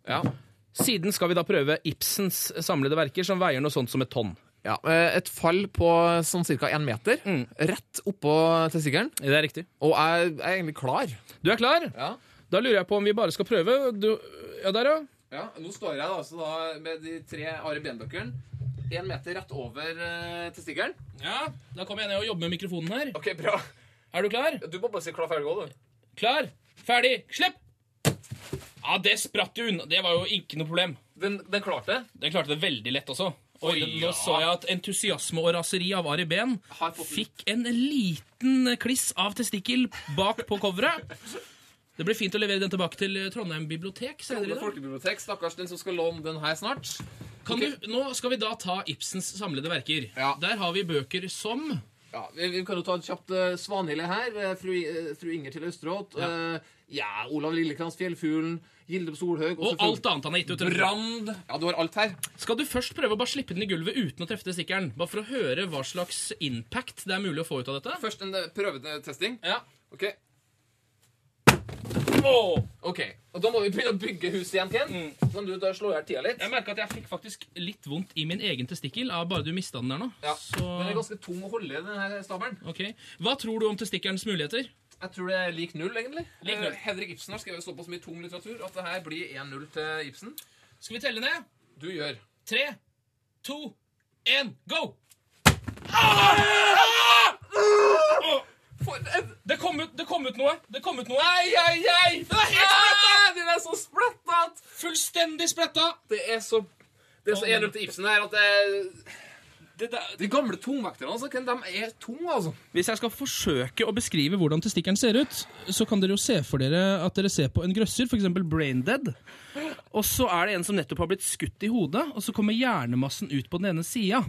C: Siden skal vi da prøve Ibsens samlede verker, som veier noe sånt som et tonn.
F: Ja, eh, Et fall på sånn ca. én meter, rett oppå testikkelen.
C: Det er riktig.
F: Og jeg er egentlig klar.
C: Du er klar?
F: Ja.
C: Da lurer jeg på om vi bare skal prøve. Du, ja, der, ja.
F: Ja, Nå står jeg da, altså da med de tre Ari Behn-bøkene. Én meter rett over eh, testikkelen.
C: ja. Da kommer jeg ned og jobber med mikrofonen her.
F: OK, bra.
C: Er du klar?
F: Du må bare si klar, ferdig, gå, du.
C: Klar, ferdig, slipp! Ja, det spratt jo unna. Det var jo ikke noe problem.
F: Den, klarte?
C: Den klarte det veldig lett også. Og
F: Oi,
C: nå
F: ja.
C: så jeg at entusiasme og raseri av Ari Behn fikk en liten kliss av testikkel bak på coveret. Det blir fint å levere den tilbake til Trondheim bibliotek senere i
F: Trondheim
C: dag.
F: folkebibliotek, stakkars den som skal låne den her snart.
C: Kan du, nå skal vi da ta Ibsens samlede verker. Der har vi bøker som
F: Ja, vi, vi kan jo ta et kjapt uh, Svanhilde her. eh, fru, eh, fru Inger til Østerått. Ja. ja, Olav Lillekrans, Fjellfuglen, Gilde på Solhaug
C: Og alt annet han har gitt ut.
F: Brand. Ja, du har alt her.
C: Skal du først prøve å bare slippe den i gulvet uten å treffe testikkelen? Bare for å høre hva slags impact det er mulig å få ut av dette?
F: Først en eh, prøvetesting.
C: Ja.
F: Ok. OK. Og da må vi begynne å bygge huset igjen, Ken. Kan du da slå i hjel tida litt?
C: Jeg merka at jeg fikk faktisk litt vondt i min egen testikkel av bare du mista den der nå.
F: Ja.
C: Så
F: Den er ganske tung å holde i, den her stabelen.
C: Ok. Hva tror du om testikkelens muligheter?
F: Jeg tror det er lik null, egentlig.
C: Lik null.
F: Eh, Henrik Ibsen har skrevet såpass mye tung litteratur at det her blir 1-0 til Ibsen.
C: Skal vi telle ned?
F: Du gjør.
C: Tre, to, én, go! Det kom, ut, det kom ut noe! Det kom ut noe.
F: Ai, ai, ai! Ah!
C: Den er helt spletta!
F: Den er så spletta! at-
C: Fullstendig spletta!
F: Det er så Det er så 1-0 til Ibsen her at det,
C: Det der,
F: De gamle tungvekterne, altså. Ken, de er tunge, altså.
C: Hvis jeg skal forsøke å beskrive hvordan testikkelen ser ut, så kan dere jo se for dere at dere ser på en grøsser, f.eks. Braindead. Og så er det en som nettopp har blitt skutt i hodet, og så kommer hjernemassen ut på den ene sida.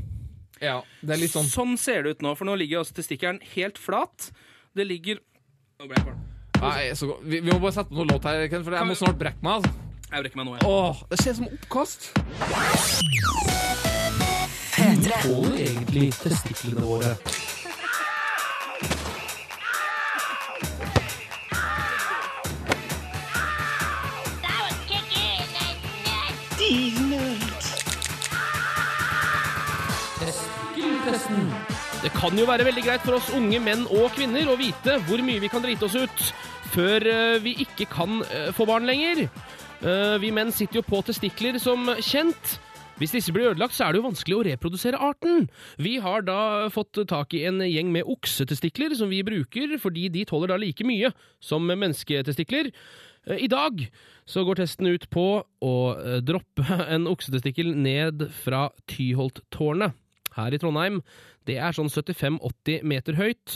F: Ja, det er litt sånn
C: Sånn ser det ut nå, for nå ligger altså testikkelen helt flat. Det ligger Nå ble jeg kvalm.
F: Nei, så, godt. vi, vi må bare sette på noe låt her, Ken, for jeg må snart brekke meg. altså.
C: Jeg brekker meg nå, jeg.
F: Åh, det ser ut som oppkast.
O: Tåler egentlig testiklene våre.
C: Testikkeltesten. Det kan jo være veldig greit for oss unge menn og kvinner å vite hvor mye vi kan drite oss ut før eh, vi ikke kan eh, få barn lenger. Eh, Vi menn sitter jo på testikler, som kjent. Hvis disse blir ødelagt, så er det jo vanskelig å reprodusere arten. Vi har da fått tak i en gjeng med oksetestikler som vi bruker, fordi de tåler da like mye som mennesketestikler. Eh, I dag så går testen ut på å eh, droppe en oksetestikkel ned fra Tyholttårnet her i Trondheim. Det er sånn 75-80 meter høyt.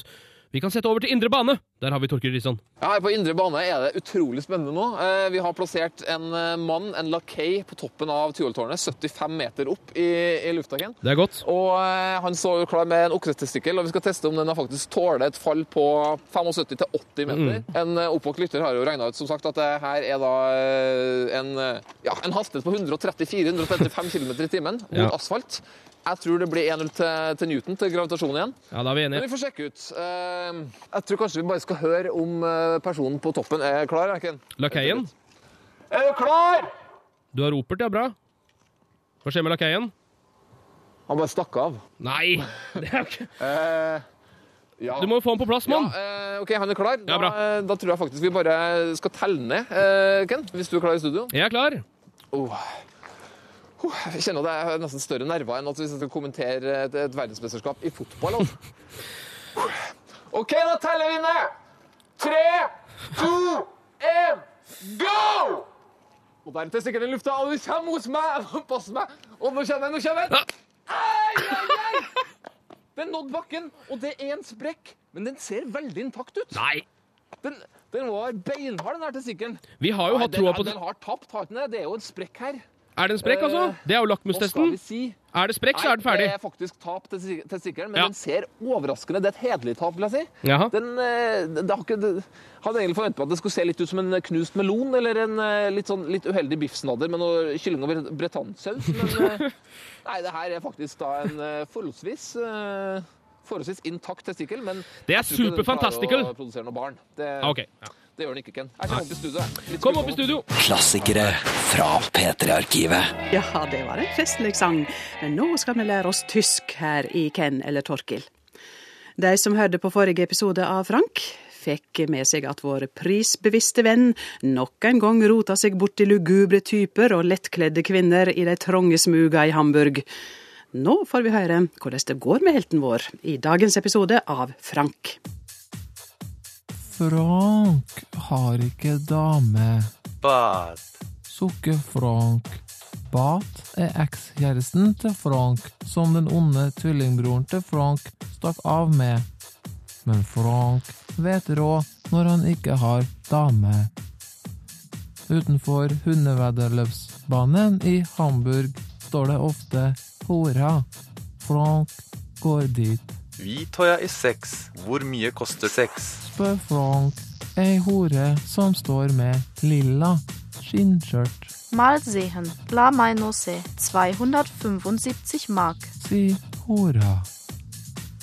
C: Vi kan sette over til indre bane. Der har vi Torkil Risan.
F: Ja, her på indre bane er det utrolig spennende nå. Eh, Vi har plassert en eh, mann, en lakei, på toppen av Tyholttårnet, 75 meter opp i, i lufta. Ken.
C: Det er godt.
F: Og eh, han står jo klar med en oksetestikkel, og vi skal teste om den har faktisk tåler et fall på 75-80 meter.
C: Mm.
F: En eh, oppvåkt lytter har jo regna ut som sagt at det her er da eh, en, eh, ja, en hastighet på 134-135 km i timen mot
C: Ja.
F: asfalt. Jeg tror det blir 1-0 til, til Newton, til gravitasjon igjen.
C: Ja, da er vi
F: Men vi
C: enige.
F: får sjekke ut. Eh, Jeg tror kanskje vi bare skal høre om eh, personen på toppen er klar. er Ken?
C: Lakeien,
F: Er du klar?
C: du har ropert, ja, bra. Hva skjer med lakeien?
F: Han bare stakk av.
C: Nei! Det er jo ikke...
F: Eh, ja.
C: Du må jo få den på plass, mann!
F: Ja, eh, OK, han er klar. Da,
C: Ja, bra.
F: eh, da tror jeg faktisk vi bare skal telle ned, eh, Ken, hvis du er klar i studio.
C: Jeg er klar.
F: Oh. Oh, Jeg kjenner at jeg har nesten større nerver enn at hvis jeg skal kommentere et, et verdensmesterskap i fotball. altså. Oh. OK, da teller vi ned! Tre, to, én, go! Og der er testikkelen i lufta, og du kommer hos meg! Jeg må passe meg! Og nå kjenner jeg, nå kjenner jeg! Ai, ai, ai! Den nådde bakken, og det er en sprekk, men den ser veldig intakt ut.
C: Nei!
F: Den, den var beinhard, den her testikkelen.
C: Vi har jo
F: Nei,
C: hatt
F: den-
C: troa på
F: Den har tapt, har den det? Det er jo en sprekk her.
C: Er det en sprekk, altså? Det er jo
F: Hva skal
C: lakmustesten.
F: vi si?
C: Er det sprekk, så er den ferdig.
F: det er faktisk tap til sik- til stikkeren,
C: Ja.
F: men den ser overraskende Det er et hederlig tap, vil jeg si.
C: Jaha.
F: Den, eh, det har ikke, det, hadde egentlig forventet meg at det skulle se litt ut som en knust melon eller en eh, litt, sånn, litt uheldig biffsnadder med noe kylling og bre- bretannsaus, men eh, Nei, det her er faktisk da en eh, forholdsvis eh, Forholdsvis intakt testikkel, men
C: Det er
F: jeg tror ikke den
C: superfantastical.
F: klarer å produsere noen barn. Det,
C: Ah, Ok. Ja.
F: det gjør den ikke, Ken. Jeg kommer opp i studio. jeg. Litt
C: Kom opp i
F: skuffende.
C: studio.
A: Klassikere fra P3-arkivet.
K: Ja, det var en festlig sang. Men nå skal vi lære oss tysk her i Ken eller Torkil. De som hørte på forrige episode av Frank, fikk med seg at vår prisbevisste venn nok en gang rota seg bort til lugubre typer og lettkledde kvinner i de trange smuga i Hamburg. Nå får vi høre hvordan det går med helten vår i dagens episode av Frank.
P: Frank har ikke dame.
Q: Bad.
F: Sukker Frank. Bat er ekskjæresten til Frank, som den onde tvillingbroren til Frank stakk av med. Men Frank vet råd når han ikke har dame. Utenfor hundeveddeløpsbanen i Hamburg står det ofte hora. Frank går dit.
Q: Vi tar jeg i sex. Hvor mye koster sex?
F: Spør Frank, ei hore som står med lilla skinnskjørt.
R: Mal sehen. La mai no se. 275 Mark.
F: Si hora.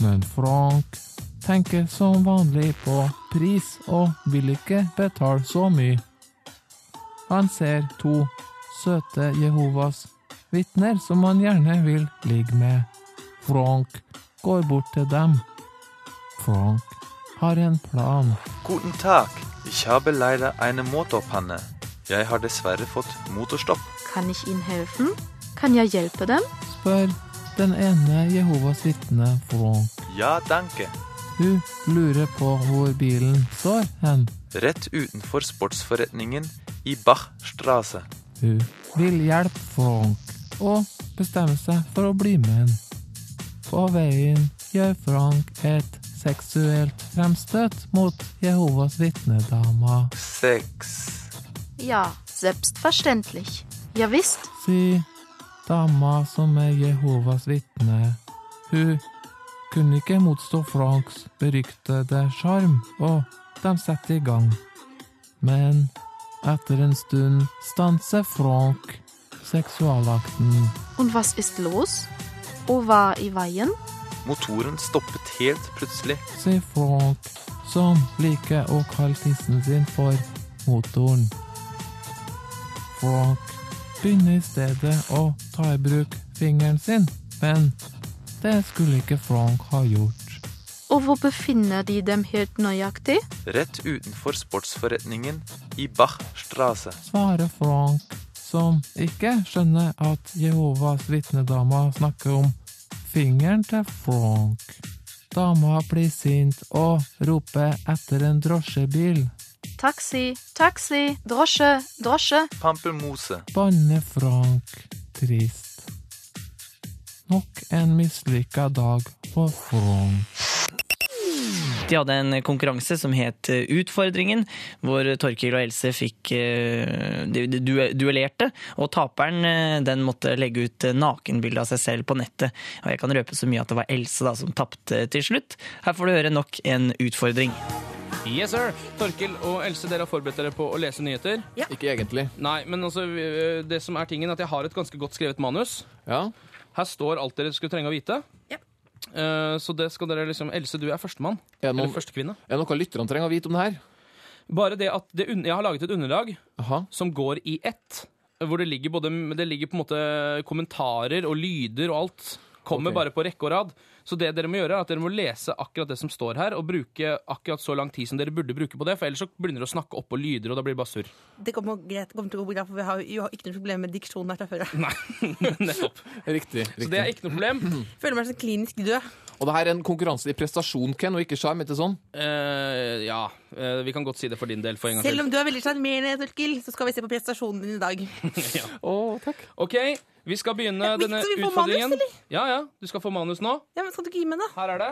F: Men Frank tenker som vanlig på pris og vil ikke betale så mye. Han ser to søte Jehovas vitner som han gjerne vil ligge med. Frank går bort til dem. Frank har en plan.
Q: Guten Tag. Ich habe leider eine Motorpanne. Jeg har dessverre fått motorstopp.
R: Kann ich Ihnen helfen? Kan jeg hjelpe dem?
F: Spør den ene Jehovas vitne Frank.
Q: Ja, danke.
F: Hun lurer på hvor bilen står hen.
Q: Rett utenfor sportsforretningen i Bachstrasse.
F: Hun vil hjelpe Frank og bestemmer seg for å bli med henne. På veien gjør Frank et seksuelt fremstøt mot Jehovas vitnedama.
Q: Sex.
R: Ja, selbstverständlich. Ja visst.
F: Si dama som er Jehovas vitne. Hun kunne ikke motstå Franks beryktede sjarm, og de setter i gang. Men etter en stund stanser Frank seksualakten.
R: Und was ist los? O var i veien?
Q: Motoren stoppet helt plutselig.
F: Sier Frank, som liker å kalle tissen sin for motoren. Frank begynner i stedet å ta i bruk fingeren sin, men det skulle ikke Frank ha gjort.
R: Og hvor befinner de dem helt nøyaktig?
Q: Rett utenfor sportsforretningen i Bachstrasse.
F: Svarer Frank, som ikke skjønner at Jehovas vitnedama snakker om fingeren til Frank. Dama blir sint og roper etter en drosjebil.
R: Taxi, taxi, drosje, drosje.
Q: Pampelmose.
F: Banne Frank trist. Nok en mislykka dag for Frank.
D: De hadde en konkurranse som het eh, Utfordringen, hvor Torkil og Else fikk eh, de- de du- duellerte, og taperen eh, den måtte legge ut eh, nakenbilde av seg selv på nettet. Og jeg kan røpe så mye at det var Else da som tapte til slutt. Her får du høre nok en utfordring.
C: Yes, sir! Torkil og Else, dere har forberedt dere på å lese nyheter.
F: Ikke egentlig.
C: Nei, men altså, vi- det som er tingen, er at jeg har et ganske godt skrevet manus. Her står alt dere skulle trenge å vite. Eh, så det skal dere liksom Else, du er førstemann.
F: Er det noen-
C: Eller førstekvinne.
F: Er det noe lytterne trenger å vite om det her?
C: Bare det at det, un- jeg har laget et underlag som går i ett. Hvor det ligger, både, det ligger på en måte kommentarer og lyder og alt. Kommer
F: Ok.
C: bare på rekke og rad. Så det dere må gjøre er at dere må lese akkurat det som står her, og bruke akkurat så lang tid som dere burde bruke på det. For ellers så begynner dere å snakke oppå lyder, og da blir det bare surr.
K: Det kommer, greit, kommer til å gå bra, for vi har jo ikke noe problem med diksjonen her fra før. Nei.
C: Nettopp.
F: Riktig. riktig.
C: Så det er ikke noe problem.
K: Føler meg som klinisk død.
F: Og det her er en konkurranse i prestasjon, Ken, og ikke sjarm, ikke sånn?
C: Eh, ja, eh, vi kan godt si det for din del. For en gang
K: Selv
C: til.
K: om du er veldig sjarmerende, Torkil, så skal vi se på prestasjonen din i dag.
C: ja. Ok, vi skal begynne
K: viktig
C: denne
K: at vi får
C: utfordringen.
K: manus,
C: ja, ja, du skal få manus nå.
K: Ja, men Skal du ikke gi meg, da?
C: Her er det.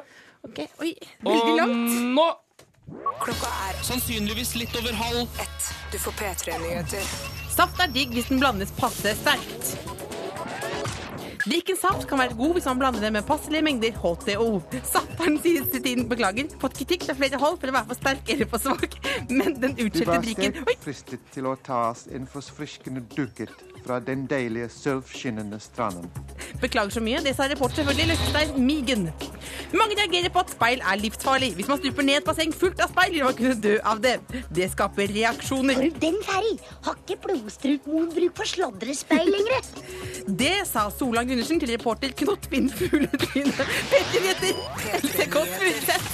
K: Ok, Oi, veldig
C: Og
K: langt.
C: nå Klokka er sannsynligvis litt over halv ett.
K: Du får P3-nyheter. Saft er digg hvis den blandes passe sterkt. Drikken saft kan være god hvis man blander det med passelige mengder HTO. Saft har den siste tiden beklager, fått kritikk fra flere hold for å være for sterk eller for svak, men den utskjelte drikken Oi,
S: fristet til å tas en forfriskende dukket fra den deilige sølvskinnende stranden.
K: beklager så mye, det sa reporter selvfølgelig Løftein Migen. Mange reagerer på at speil er livsfarlig. Hvis man stuper ned et basseng fullt av speil, vil man kunne dø av det. Det skaper reaksjoner. Den ferdig har ikke blodstrupmoen bruk for sladrespeil lenger. Det sa Solan Gundersen til reporter Knott Finn Fugletryne. Petter Gjetter, Else Kåss Furuseth.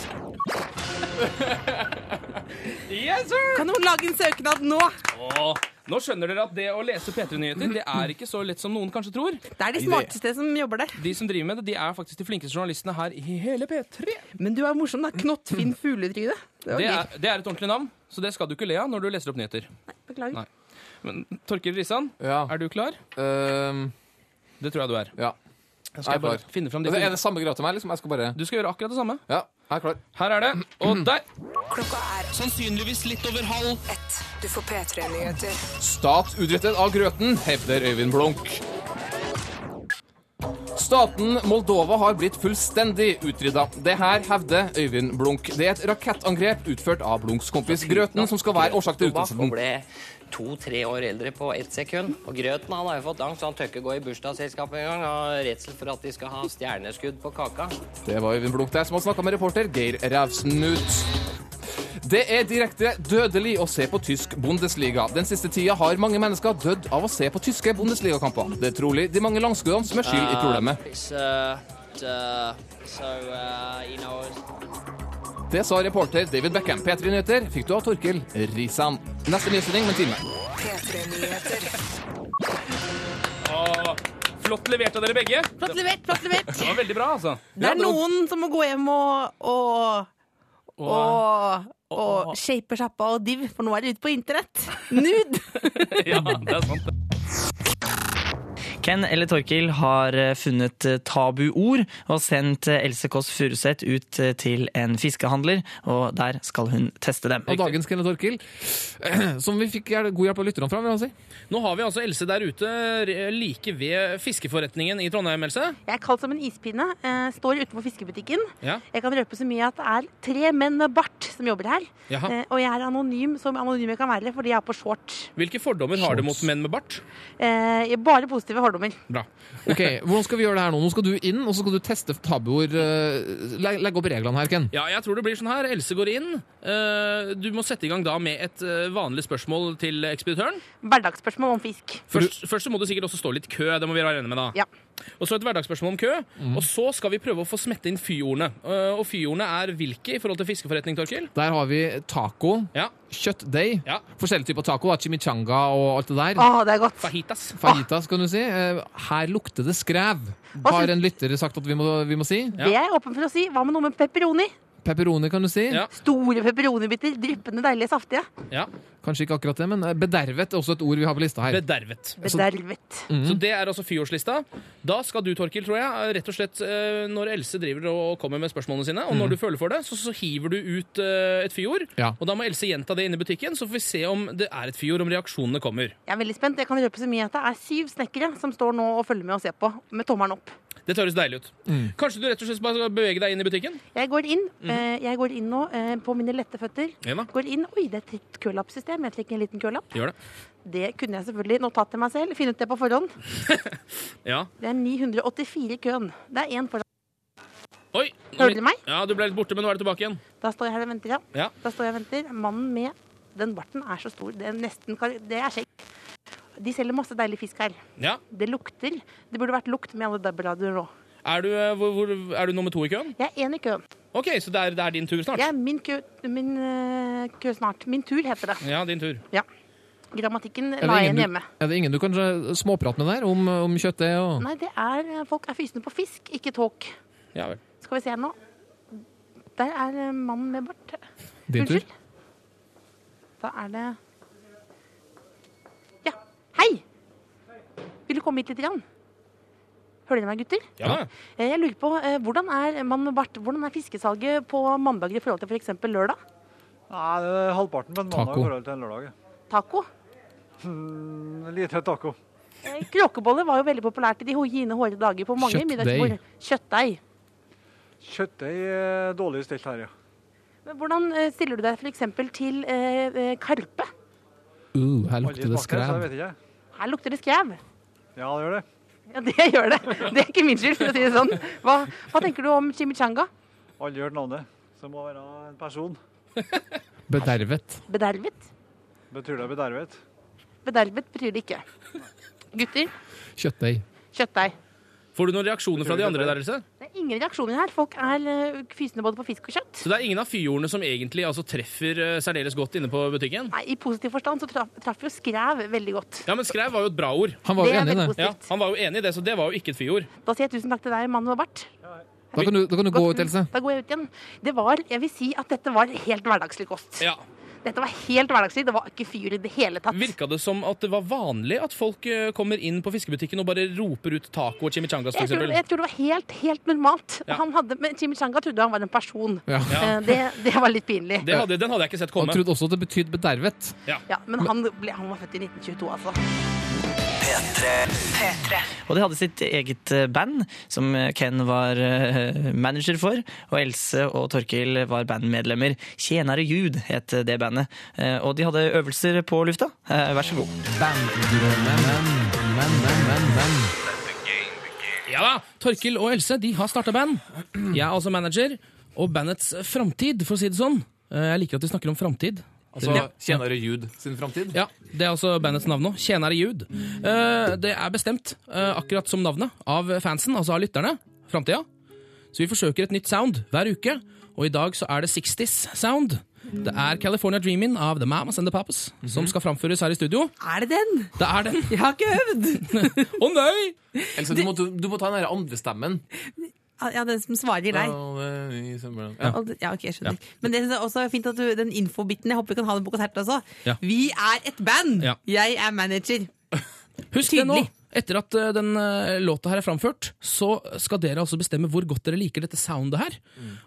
C: Yes, sir!
K: Kan noen lage en søknad nå?
C: Åh, nå skjønner dere at det å lese P3-nyheter det er ikke så lett som noen kanskje tror.
K: Det er de smarteste som jobber der.
C: De som driver med det, de er faktisk de flinkeste journalistene her i hele P3.
K: Men du er morsom, da. Knott Finn Fugletryne.
C: Det er, det er et ordentlig navn, så det skal du ikke le av når du leser opp nyheter.
K: Beklager.
C: Nei. Men Torkild Risan, er du klar? det tror jeg du er. Jeg
F: Ehm, Jeg
C: skal Altså,
F: er
C: bare
F: klar.
C: finne fram de
F: Det er
C: fine-
F: det samme greia til meg? liksom, jeg skal bare...
C: Du skal gjøre akkurat det samme.
F: Ja, jeg er klar.
C: Her er det, og der!
B: Klokka er
C: sannsynligvis litt over halv
B: ett. Du får P3-nyheter.
F: Stat utrettet av grøten, hevder Øyvind Blunk. Staten Moldova har blitt fullstendig utrydda. Det her hevder Øyvind Blunk. Det er et rakettangrep utført av Blunks kompis Grøten som skal være årsak til
T: Og ble
F: utryddelsen.
T: to-tre år eldre på ett sekund. Og Grøten han har jo fått angst, så han tør ikke gå i bursdagsselskapet engang. Av redsel for at de skal ha stjerneskudd på kaka.
F: Det var Øyvind Blunk der som hadde snakka med reporter Geir Rævsnut. Det er direkte dødelig å se på tysk Bundesliga. Den siste tida har mange mennesker dødd av å se på tyske Bundesligakamper. Det er trolig de mange langskuddene som er skyld i problemet.
T: Uh, it's, uh, uh, so, uh, you know,
F: Det sa reporter David Beckham. P3 Nyheter fikk du av Torkil Risan. Neste nyhetssending om en time.
B: P3-nyheter.
C: Flott levert av dere begge.
K: Flott levert, flott levert.
C: Det var veldig bra, altså.
K: Det er noen som må gå hjem og og, og, og, shape sjappa og div, for nå er det ute på internett. Nude!
C: ja, det er sant.
D: Ken eller Torkil har eh, funnet eh, tabuord og sendt eh, Else Kåss Furuseth ut eh, til en fiskehandler, og der skal hun teste dem.
F: Og dagens Kenneth Orkild, som vi fikk hjel- god hjelp av lytterne fra, vil jeg si.
C: Nå har vi altså Else der ute re- like ved fiskeforretningen i Trondheim, Else.
K: Jeg er kald som en ispinne. eh, står utenfor fiskebutikken.
C: Ja.
K: Jeg kan røpe så mye at det er tre menn med bart som jobber her.
C: Jaha.
K: Eh, og jeg er anonym som anonym jeg kan være fordi jeg er på short.
C: Hvilke fordommer har du mot menn med bart?
K: Eh, jeg- bare positive fordommer.
C: Bra.
F: Ok, Hvordan skal vi gjøre det her nå? Nå skal du inn, og så skal du teste tabuer. eh, le- Legge opp reglene her, Ken.
C: Ja, jeg tror det blir sånn her. Else går inn. Eh, Du må sette i gang da med et eh, vanlig spørsmål til ekspeditøren.
K: Hverdagsspørsmål om fisk.
C: Først, først så må du sikkert også stå litt kø. Det må vi være enige med, da.
K: Ja.
C: Og så et hverdagsspørsmål om kø. Og så skal vi prøve å få smette inn fyordene. Eh, Og fyordene er hvilke i forhold til fiskeforretning, Torkil?
F: Der har vi taco, kjøttdeig, forskjellige typer taco, da, chimichanga og alt det der.
K: Å, det er godt.
C: Fajitas.
F: Fajitas, kan du si. Eh, Her lukter det skrev, har en lytter sagt at vi må, vi må si.
K: Det er jeg åpen for å si. Hva med noe med pepperoni?
F: Pepperoni, kan du si.
K: Store pepperonibiter, dryppende deilige, saftige.
F: Kanskje ikke akkurat det, men eh, bedervet er også et ord vi har på lista her.
C: Bedervet.
K: Bedervet.
C: Så det er altså fyordslista. Da skal du, Torkil, tror jeg, øh, rett og slett eh, når Else driver og kommer med spørsmålene sine, og
F: Mhm.
C: når du føler for det, så, så hiver du ut eh, et fyord.
F: Ja.
C: Og da må Else gjenta det inne i butikken, så får vi se om det er et fyord, om reaksjonene kommer.
K: Jeg er veldig spent. Jeg kan røpe så mye at det er syv snekkere som står nå og følger med og ser på, med tommelen opp.
C: Dette høres deilig ut. Kanskje du rett og slett bare skal bevege deg inn i butikken?
K: Jeg går inn,
C: Mhm.
K: eh, jeg går inn nå eh, på mine lette føtter.
C: Ja da.
K: Går inn, Oi, det er et tett kølappsystem. Jeg trekker en liten kølapp.
C: Gjør det.
K: Det kunne jeg selvfølgelig notat til meg selv. Finne ut det på forhånd.
C: Ja.
K: Det er 984 i køen. Det er én foran.
C: Oi! nå-
K: Hører du meg?
C: Ja, du ble litt borte, men nå er du tilbake igjen.
K: Da står jeg her og venter, ja.
C: Ja.
K: Da står jeg og venter. Mannen med den barten er så stor. Det er nesten kar- Det er skjegg. De selger masse deilig fisk her.
C: ja.
K: Det lukter. Det burde vært lukt med alle dobbeltradioer nå.
C: Er du, eh, hvor, hvor, er du nummer to i køen?
K: Jeg er én i køen.
C: OK, så det er, det er din tur snart.
K: Jeg er min kø, min eh, kø snart. Min tur heter det.
C: Ja, din tur.
K: Ja. Grammatikken
F: Er
K: la
F: det,
K: jeg
F: ingen
K: igjen
F: du,
K: hjemme.
F: er det ingen du kan eh, småprate med der, om, om kjøttdeig og
K: Nei, det er eh, Folk er fysne på fisk, ikke tåk.
C: Ja vel.
K: Skal vi se her nå. Der er eh, mannen med bart.
F: Din tur?
K: Da er det Ja. Hei! Vil du komme hit litt? Grann? Hører dere meg, gutter?
C: Ja.
K: Eh, Jeg lurer på, eh, Hvordan er mannen med bart, hvordan er fiskesalget på mandager i forhold til f.eks. lørdag?
U: Nei, det er halvparten på en mandag
K: Taco.
U: i forhold til en lørdag.
K: Taco?
U: Mm, lite taco.
K: Eh, Kråkeboller var jo veldig populært i de ho- gine hårde dager på mange
U: Kjøttdeig.
K: middagsbord. Kjøttdeig.
U: Kjøttdeig er dårlig stelt her, ja.
K: Men hvordan eh, stiller du deg f.eks. til eh, eh, karpe?
F: Uh, her
U: Aldri
F: lukter det
U: smakt så jeg
F: skrev.
U: vet ikke.
K: Her lukter det skrev.
U: Ja, det gjør det.
K: Ja, det gjør det. Det er ikke min skyld, for å si det sånn. Hva, hva tenker du om chimichanga?
U: Aldri hørt navnet. Så det må være en person.
F: Bedervet.
K: Bedervet?
U: Betyr det bedervet?
K: Bedervet betyr det ikke. Gutter,
F: Kjøttdeig.
K: kjøttdeig.
C: Får du noen reaksjoner fra de andre der, Else?
K: Det er ingen reaksjoner her. Folk er eh, fysende både på fisk og kjøtt.
C: Så det er ingen av fyordene som egentlig altså, treffer eh, særdeles godt inne på butikken?
K: Nei, I positiv forstand så traff, traff jo skrev veldig godt.
C: Ja, men skrev var jo et bra ord.
F: Han
K: var jo Det er enig i veldig det.
C: Ja,
K: positivt.
C: han var jo enig i det, så det var jo ikke et fyord.
K: Da sier jeg tusen takk til deg, mann med bart.
F: Da kan du, da kan du gå ut, Else.
K: Da går jeg ut igjen. Det var, jeg vil si at dette var helt hverdagslig kost.
C: Ja.
K: Dette var helt hverdagslig. Det var ikke fyr i det hele tatt.
C: Virka det som at det var vanlig at folk eh, kommer inn på fiskebutikken og bare roper ut taco og chimichangas,
K: Jeg
C: f.eks.?
K: tror, jeg tror det var helt, helt normalt.
C: Ja.
K: Han hadde, men Chimichanga trodde han var en person.
C: Ja.
K: Eh, Det, det var litt pinlig.
C: Det hadde, den hadde jeg ikke sett komme.
F: Han trodde også at det betydde bedervet.
K: Ja, men han, ble, han var født i 1922, altså.
D: Og de hadde sitt eget eh, band, som eh, Ken var eh, manager for. Og Else og Torkil var bandmedlemmer. Tjenere Jud het det bandet. Eh, Og de hadde øvelser på lufta. Eh, Vær så god.
C: Ja da, Torkil og Else de har starta band. Jeg er altså manager. Og bandets framtid, for å si det sånn. Eh, Jeg liker at de snakker om framtid.
F: Altså
C: Ja.
F: Tjenere Jude sin framtid?
C: Ja, det er altså bandets navn nå. Tjenere Jud. Eh, det er bestemt, eh, akkurat som navnet, av fansen, altså av lytterne. Framtida. Så vi forsøker et nytt sound hver uke, og i dag så er det 60s sound. Det er California Dreamin' av The Mamas and The Papas
F: Mhm.
C: som skal framføres her i studio.
K: Er det den?
C: Det er den.
K: Jeg har ikke øvd!
C: Å nei!
F: Else, du, må, du, du må ta den der andre stemmen.
E: Ja, den som svarer deg.
F: eh, Ja.
E: Og det- Ja, ok, jeg skjønner. Men det synes jeg også er fint at du, den infobiten Jeg håper vi kan ha den på konserten også.
C: Ja.
E: Vi er et band!
C: Ja.
E: Jeg er manager.
C: Husk det nå. Etter at eh, den eh, låta her er framført, så skal dere altså bestemme hvor godt dere liker dette soundet her.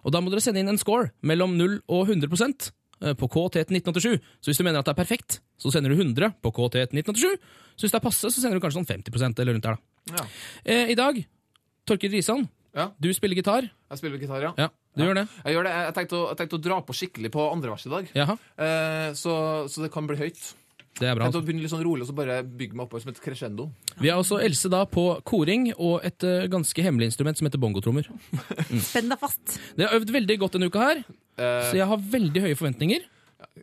C: Og da må dere sende inn en score mellom 0 og 100 eh, på KT til 1987. Så hvis du mener at det er perfekt, så sender du 100 på KT til 1987. Så hvis det er passe, så sender du kanskje sånn 50 eller rundt der, da. Eh, I dag, Torkild Risan, du spiller gitar.
F: Jeg spiller gitar, ja.
C: Du gjør det.
F: Jeg, gjør det. jeg, tenkte å, jeg tenkte å dra på skikkelig på andre vers i dag,
C: Jaha,
F: eh, så, så det kan bli høyt.
C: det er
F: Jeg
C: bra.
F: tenkte å begynne litt sånn rolig og så bare bygge meg oppover som et crescendo.
C: Vi har også Else da på koring og et eh, ganske hemmelig instrument som heter bongotrommer.
E: Spenn deg fast.
C: Det har øvd veldig godt denne uka her, så jeg har veldig høye forventninger.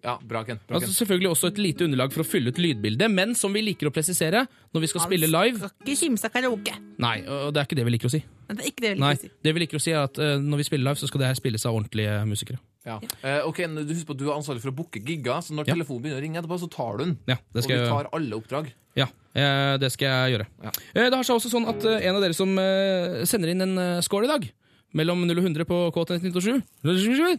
F: Ja, bra, Ken. Bra,
C: Altså,
F: Ken.
C: selvfølgelig også et lite underlag for å fylle ut lydbildet, men som vi liker å presisere når vi skal spille live
E: Ikke kimse av karaoke.
C: Nei, og det er ikke det vi liker å si.
E: Men Det er ikke det jeg vil
C: Nei,
E: si.
C: det vi liker å si er at eh, Når vi spiller live, så skal det her spilles av ordentlige musikere.
F: Ja. Eh, ok, men du Husk på at du er ansvarlig for å booke gigger, så når
C: Ja.
F: telefonen begynner å ringe etterpå, så tar du den.
C: Ja, det skal
F: og
C: jeg-
F: du tar alle oppdrag.
C: Ja, eh, det skal jeg gjøre. Eh, Det har seg også sånn at eh, en av dere som eh, sender inn en eh, score i dag, mellom 0 og 100 på KT1987,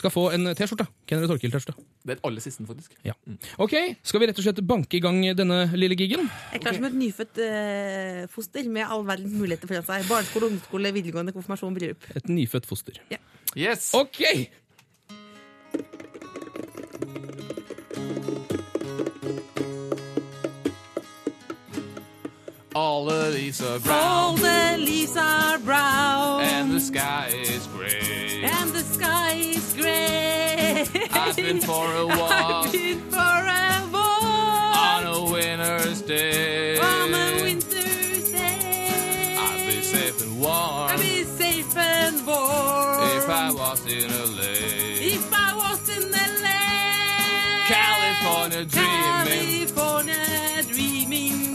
C: skal få en eh, T-skjorte. Kenner Torkild-T-skjorte.
F: Det er aller siste, faktisk.
C: Ja. Ok, skal vi rett og slett banke i gang denne lille gigen?
E: Jeg er klar som et nyfødt eh, foster med all verdens muligheter foran seg. Barneskole, ungdomsskole, videregående, konfirmasjon, bryllup.
C: Et nyfødt foster.
F: Yes!
C: Ok!
F: All the leaves are brown,
E: All the leaves are brown,
F: and the sky is grey.
E: and the sky is grey.
F: I've been for a
E: I've
F: walk
E: been for a walk
F: on a winter's day.
E: on a winter's day.
F: I'd be safe and warm
E: I'll be safe and warm
F: if I was in LA.
E: if I was in LA.
F: California dreaming
E: California dreaming.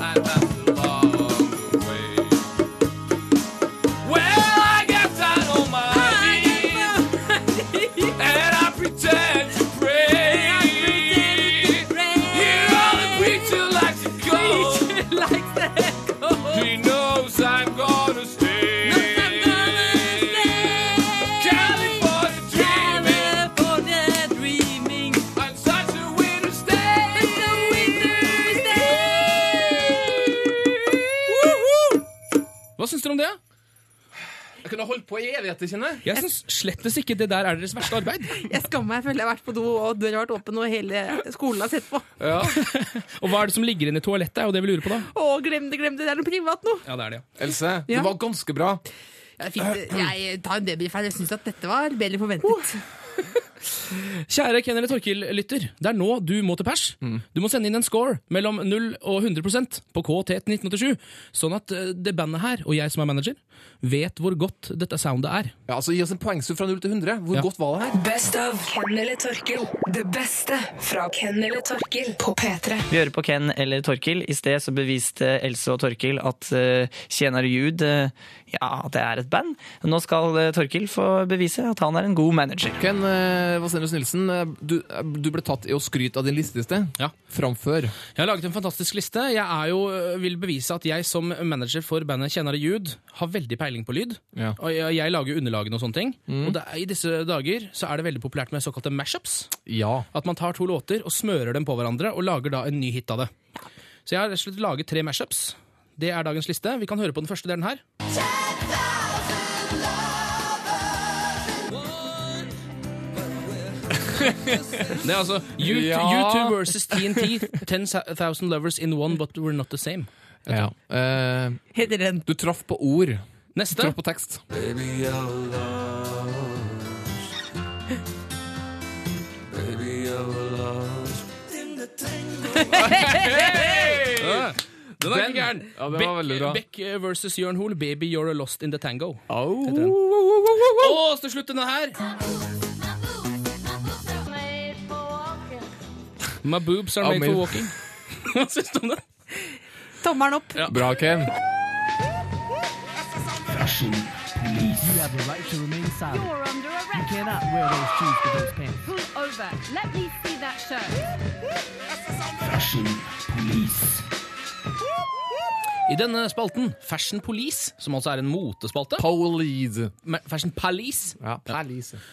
F: I left along the way. Well, I got down on my knees and I pretend to pray. Here on the preacher likes to go. He knows I'm gonna stay. California dreaming.
E: California dreaming.
F: On such a winter's day.
C: Hva syns dere om det?
F: Jeg kunne holdt på i evigheter, kjenner
C: Jeg syns slettes ikke det der er deres verste arbeid.
E: Jeg skammer meg. Jeg føler jeg har vært på do, og døra har vært åpen, og hele skolen har sett på.
C: og hva er det som ligger inne i toalettet, er jo det vi lurer på, da.
E: Å, glem det, glem det. Det er noe privat nå.
C: Ja, det er det.
F: Else,
E: Ja.
F: det var ganske bra.
E: Ja, det er fint. Jeg tar en debrief her. Jeg syns at dette var bedre enn forventet.
C: Kjære Ken eller Torkil-lytter, det er nå du må til pers. Du må sende inn en score mellom 0 og 100 på KT til 1987, sånn at eh, det bandet her, og jeg som er manager, vet hvor godt dette soundet er.
F: Ja, altså Gi oss en poengsum fra 0 til 100. Hvor godt var det her?
B: Best av Ken eller Torkil. Det beste fra Ken eller Torkil på P3.
D: Vi hører på Ken eller Torkil. I sted så beviste Else og Torkil at uh, Tjener Jude eh, ja, det er et band. Nå skal eh, Torkil få eh, bevise at han er en god manager.
F: Ken, eh, Vasenus Nilsen, eh, du, eh, du ble tatt i å skryte av din liste i sted. Framfør.
C: Jeg har laget en fantastisk liste. Jeg er jo, øh, vil bevise at jeg som manager for bandet Kjennere Ljud har veldig peiling på lyd.
F: Ja.
C: Og jeg, jeg lager jo underlagene og sånne ting.
F: Mm.
C: Og det, er- i disse dager så er det veldig populært med såkalte mashups.
F: Ja.
C: At man tar to låter og smører dem på hverandre og lager da en ny hit av det. Så jeg har rett og slett laget tre mashups. Det er dagens liste. Vi kan høre på den første delen her. Det er altså You,
F: Ja.
C: U2 versus TNT. 10,000 lovers in one, but we're not the same.
F: Ja. Eh, Du traff på ord.
C: Neste.
F: Du traff på tekst.
C: Ja. Den er ikke gæren.
F: Ja, den var veldig bra.
C: Beck Beck versus Jørn Hoel, 'Baby You're a Lost in the Tango'.
F: Au.
C: heter den. Og så til slutt denne her. My boobs are
F: Au,
C: made for
F: min.
C: walking. Hva syns du om det?
V: Tommelen opp.
F: Bra, Ken.
W: Pull over. Let me see that shirt.
C: I denne spalten, Fashion Police, som altså er en motespalte Me- Fashion Police.
F: Ja,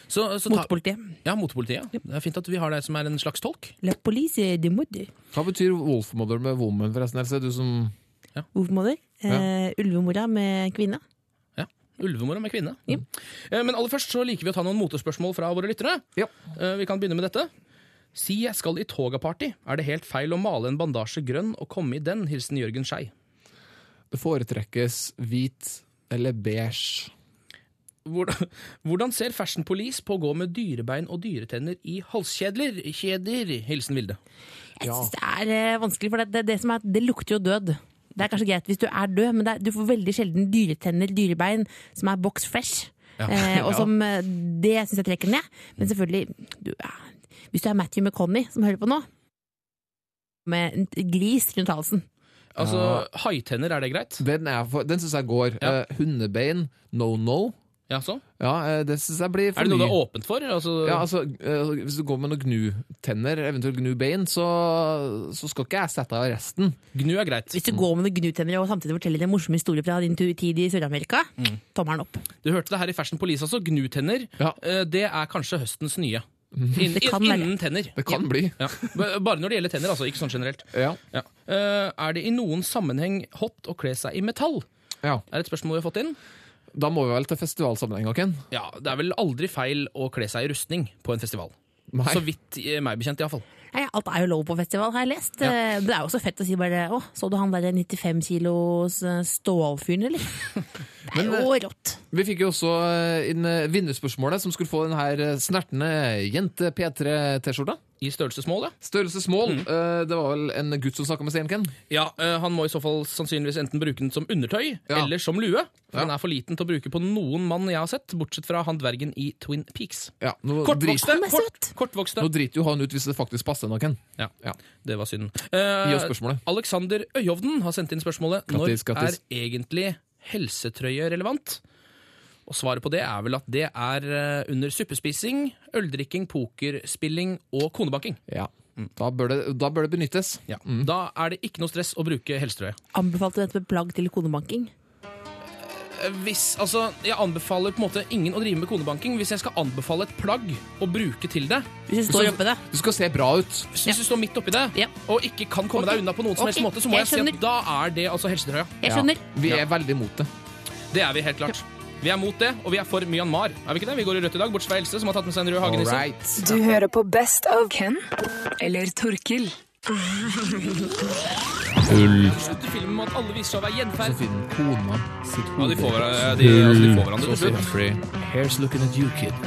C: Så- så ta- Ja, motepolitiet. Det er fint at vi har deg som er en slags tolk.
V: La police de mode.
F: Hva betyr wolfmother med woman, forresten? Else? Du som
V: Ovmoder. Eh, ulvemora med kvinne.
C: Ja. Ulvemora med kvinne. Eh, Men aller først så liker vi å ta noen motespørsmål fra våre lyttere. Eh, Vi kan begynne med dette. Si jeg skal i toga-party. Er det helt feil å male en bandasje grønn og komme i den? Hilsen Jørgen Skei.
F: Det foretrekkes hvit eller beige.
C: Hvordan, hvordan ser Fashion Police på å gå med dyrebein og dyretenner i halskjedler? Kjeder. Hilsen Vilde.
V: Det er eh, vanskelig, for det, det, det som er, det lukter jo død. Det er kanskje greit hvis du er død, men det er, du får veldig sjelden dyretenner, dyrebein, som er box fresh.
C: Ja.
V: Eh, og
C: Ja.
V: som eh, Det syns jeg trekker ned. Men selvfølgelig, du, eh, hvis du er Matthew McConney som hører på nå, med en gris rundt halsen
C: Altså, haitenner, er det greit?
F: Den, er for- den syns jeg går. Eh, hundebein, no no.
C: Ja, så?
F: Ja, eh, det syns jeg blir for
C: Er det noe du
F: mye.
C: er åpent for? Altså,
F: Ja, altså, eh, Hvis du går med noen gnutenner, eventuelt gnubein, så, så skal ikke jeg sette deg av resten.
C: Gnu er greit.
V: Hvis du går med noen gnutenner og samtidig forteller en morsom historie fra din tur- tid i Sør-Amerika,
C: Mm.
V: tommelen opp.
C: Du hørte det her i Fashion Police også. Gnutenner. Eh, Det er kanskje høstens nye. Inn-
V: Det kan være.
C: innen tenner.
F: Det kan bli.
C: Ja. B- Bare når det gjelder tenner, altså. Ikke sånn generelt.
F: Ja.
C: Eh, Er det i noen sammenheng hot å kle seg i metall?
F: Ja.
C: Er det et spørsmål vi har fått inn?
F: Da må vi vel til festivalsammenheng, Ken?
C: Ja, Det er vel aldri feil å kle seg i rustning på en festival.
F: Nei.
C: Så vidt eh, meg bekjent, iallfall.
V: Nei, alt er jo lov på festival, har jeg lest. Eh, Det er jo så fett å si bare Å, så du han der 95 kilos eh, stålfyren, eller? Det er jo rått.
F: Vi fikk jo også eh, inn eh, vinnerspørsmålet, som skulle få den her eh, snertne jente P3-T-skjorta.
C: I størrelse small, ja.
F: Størrelse
C: Mm.
F: small. Eh, Det var vel en gutt som snakka med Sten Ken?
C: Ja, eh, Han må i så fall sannsynligvis enten bruke den som undertøy eller som lue. For Den er for liten til å bruke på noen mann jeg har sett, bortsett fra han dvergen i Twin Peaks.
F: Ja, nå
C: Kortvokste!
F: drit-
C: Kort, kortvokste.
F: Nå driter jo han ut hvis det faktisk passer noen.
C: Ja, det var Eh, synd.
F: Gi oss spørsmålet.
C: Alexander Øyhovden har sendt inn spørsmålet
F: Grattis,
C: Når
F: grattis.
C: er egentlig helsetrøye relevant? Og svaret på det er vel at det er eh, under suppespising, øldrikking, pokerspilling og konebaking.
F: Ja. Mm. Da, bør det, da bør det benyttes.
C: Da er det ikke noe stress å bruke helsetrøye.
V: Anbefalte dette med plagg til konebanking.
C: Eh, Hvis, altså, jeg anbefaler på en måte ingen å drive med konebanking. Hvis jeg skal anbefale et plagg å bruke til det
V: Hvis
F: du står oppi det. Du skal se bra ut.
C: Hvis du står midt oppi det og ikke kan komme deg unna på noen som helst
F: Ok,
C: måte, så må
F: jeg
C: jeg, si at
F: skjønner.
C: da er det altså helsetrøya.
F: Jeg skjønner. Ja, vi er veldig mot det.
C: Det er vi helt klart. Vi er mot det, og vi er for Myanmar. Er vi ikke det? Vi går i rødt i dag, bortsett fra Else, som har tatt med seg en rød hagenisse.
B: Du hører på Best of Ken eller Torkil.
F: Hull.
C: Slutter filmen med at alle viser seg å være gjenferd.
F: Kona sitt
C: Ja, de får, hver- de, altså, de får hverandre
F: Så
C: til slutt.
F: Humphrey, Here's looking at you, kid.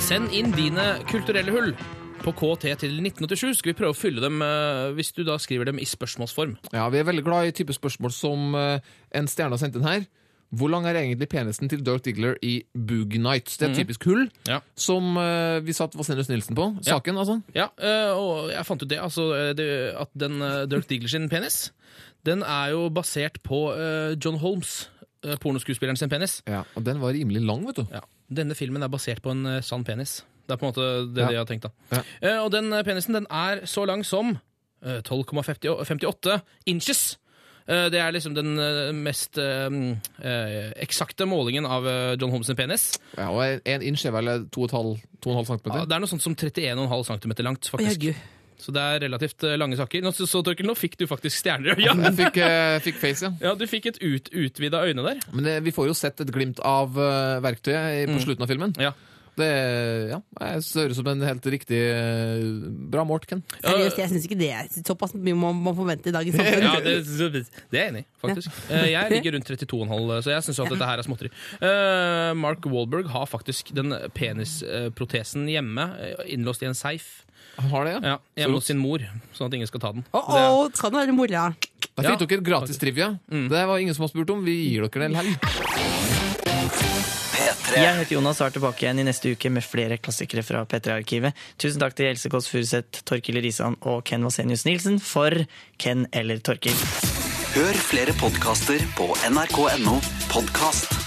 C: Send inn dine kulturelle hull på KT til 1987. Skal vi prøve å fylle dem eh, hvis du da skriver dem i spørsmålsform.
F: Ja, Vi er veldig glad i type spørsmål som eh, en stjerne har sendt inn her. Hvor lang er egentlig penisen til Dirk Diggler i Boogie Nights? Det er et
C: Mhm.
F: typisk hull
C: Ja.
F: som eh, vi satt Vasenus Nilsen på. Saken, altså.
C: Ja, eh, og jeg fant ut det, altså, eh, det at den eh, Dirk Diggler sin penis, den er jo basert på eh, John Holmes, eh, pornoskuespilleren sin penis.
F: Ja, og den var rimelig lang, vet du.
C: Denne filmen er basert på en eh, sann penis. Det er på en måte det,
M: Ja.
C: det jeg har tenkt, da. Eh, og den eh, penisen den er så lang som eh, 12,58 inches. Eh, det er liksom den eh, mest eh, eh, eksakte målingen av eh, John Holmes' sin penis.
F: Ja, og en inch er vel 2,5 cm?
C: Ja, det er noe sånt som 31,5 cm langt, faktisk.
F: Herregud.
C: Så det er relativt eh, lange saker. Nå, så, så Torkel, nå fikk du faktisk stjerner i øya!
F: Jeg fikk, eh, fikk face, ja.
C: Ja, du fikk et ut, utvida øyne der.
F: Men eh, vi får jo sett et glimt av eh, verktøyet i- på slutten av filmen. Det, ja, jeg ser ut som en helt riktig eh, bra målt, Ken.
K: Seriøst, jeg syns ikke det er såpass mye man må forvente i dagens samfunn.
C: Ja, det, det er jeg enig i, faktisk. Eh, Jeg ligger rundt 32,5, så jeg syns at dette her er småtteri. Eh, Mark Wahlberg har faktisk den penisprotesen hjemme, eh, innlåst i en safe.
F: Han har det,
C: ja? Hjemme hos sin mor, sånn at ingen skal ta den.
K: Å, skal den være mora?
F: Da fikk dere gratis trivia. Det var ingen som har spurt om. Vi gir dere det likevel.
D: Jeg heter Jonas og er tilbake igjen i neste uke med flere klassikere fra P3-arkivet. Tusen takk til Else Kåss Furuseth, Torkil Risan og Ken Vasenius Nilsen for Ken eller Torkil.
A: Hør flere podkaster på nrk.no podkast.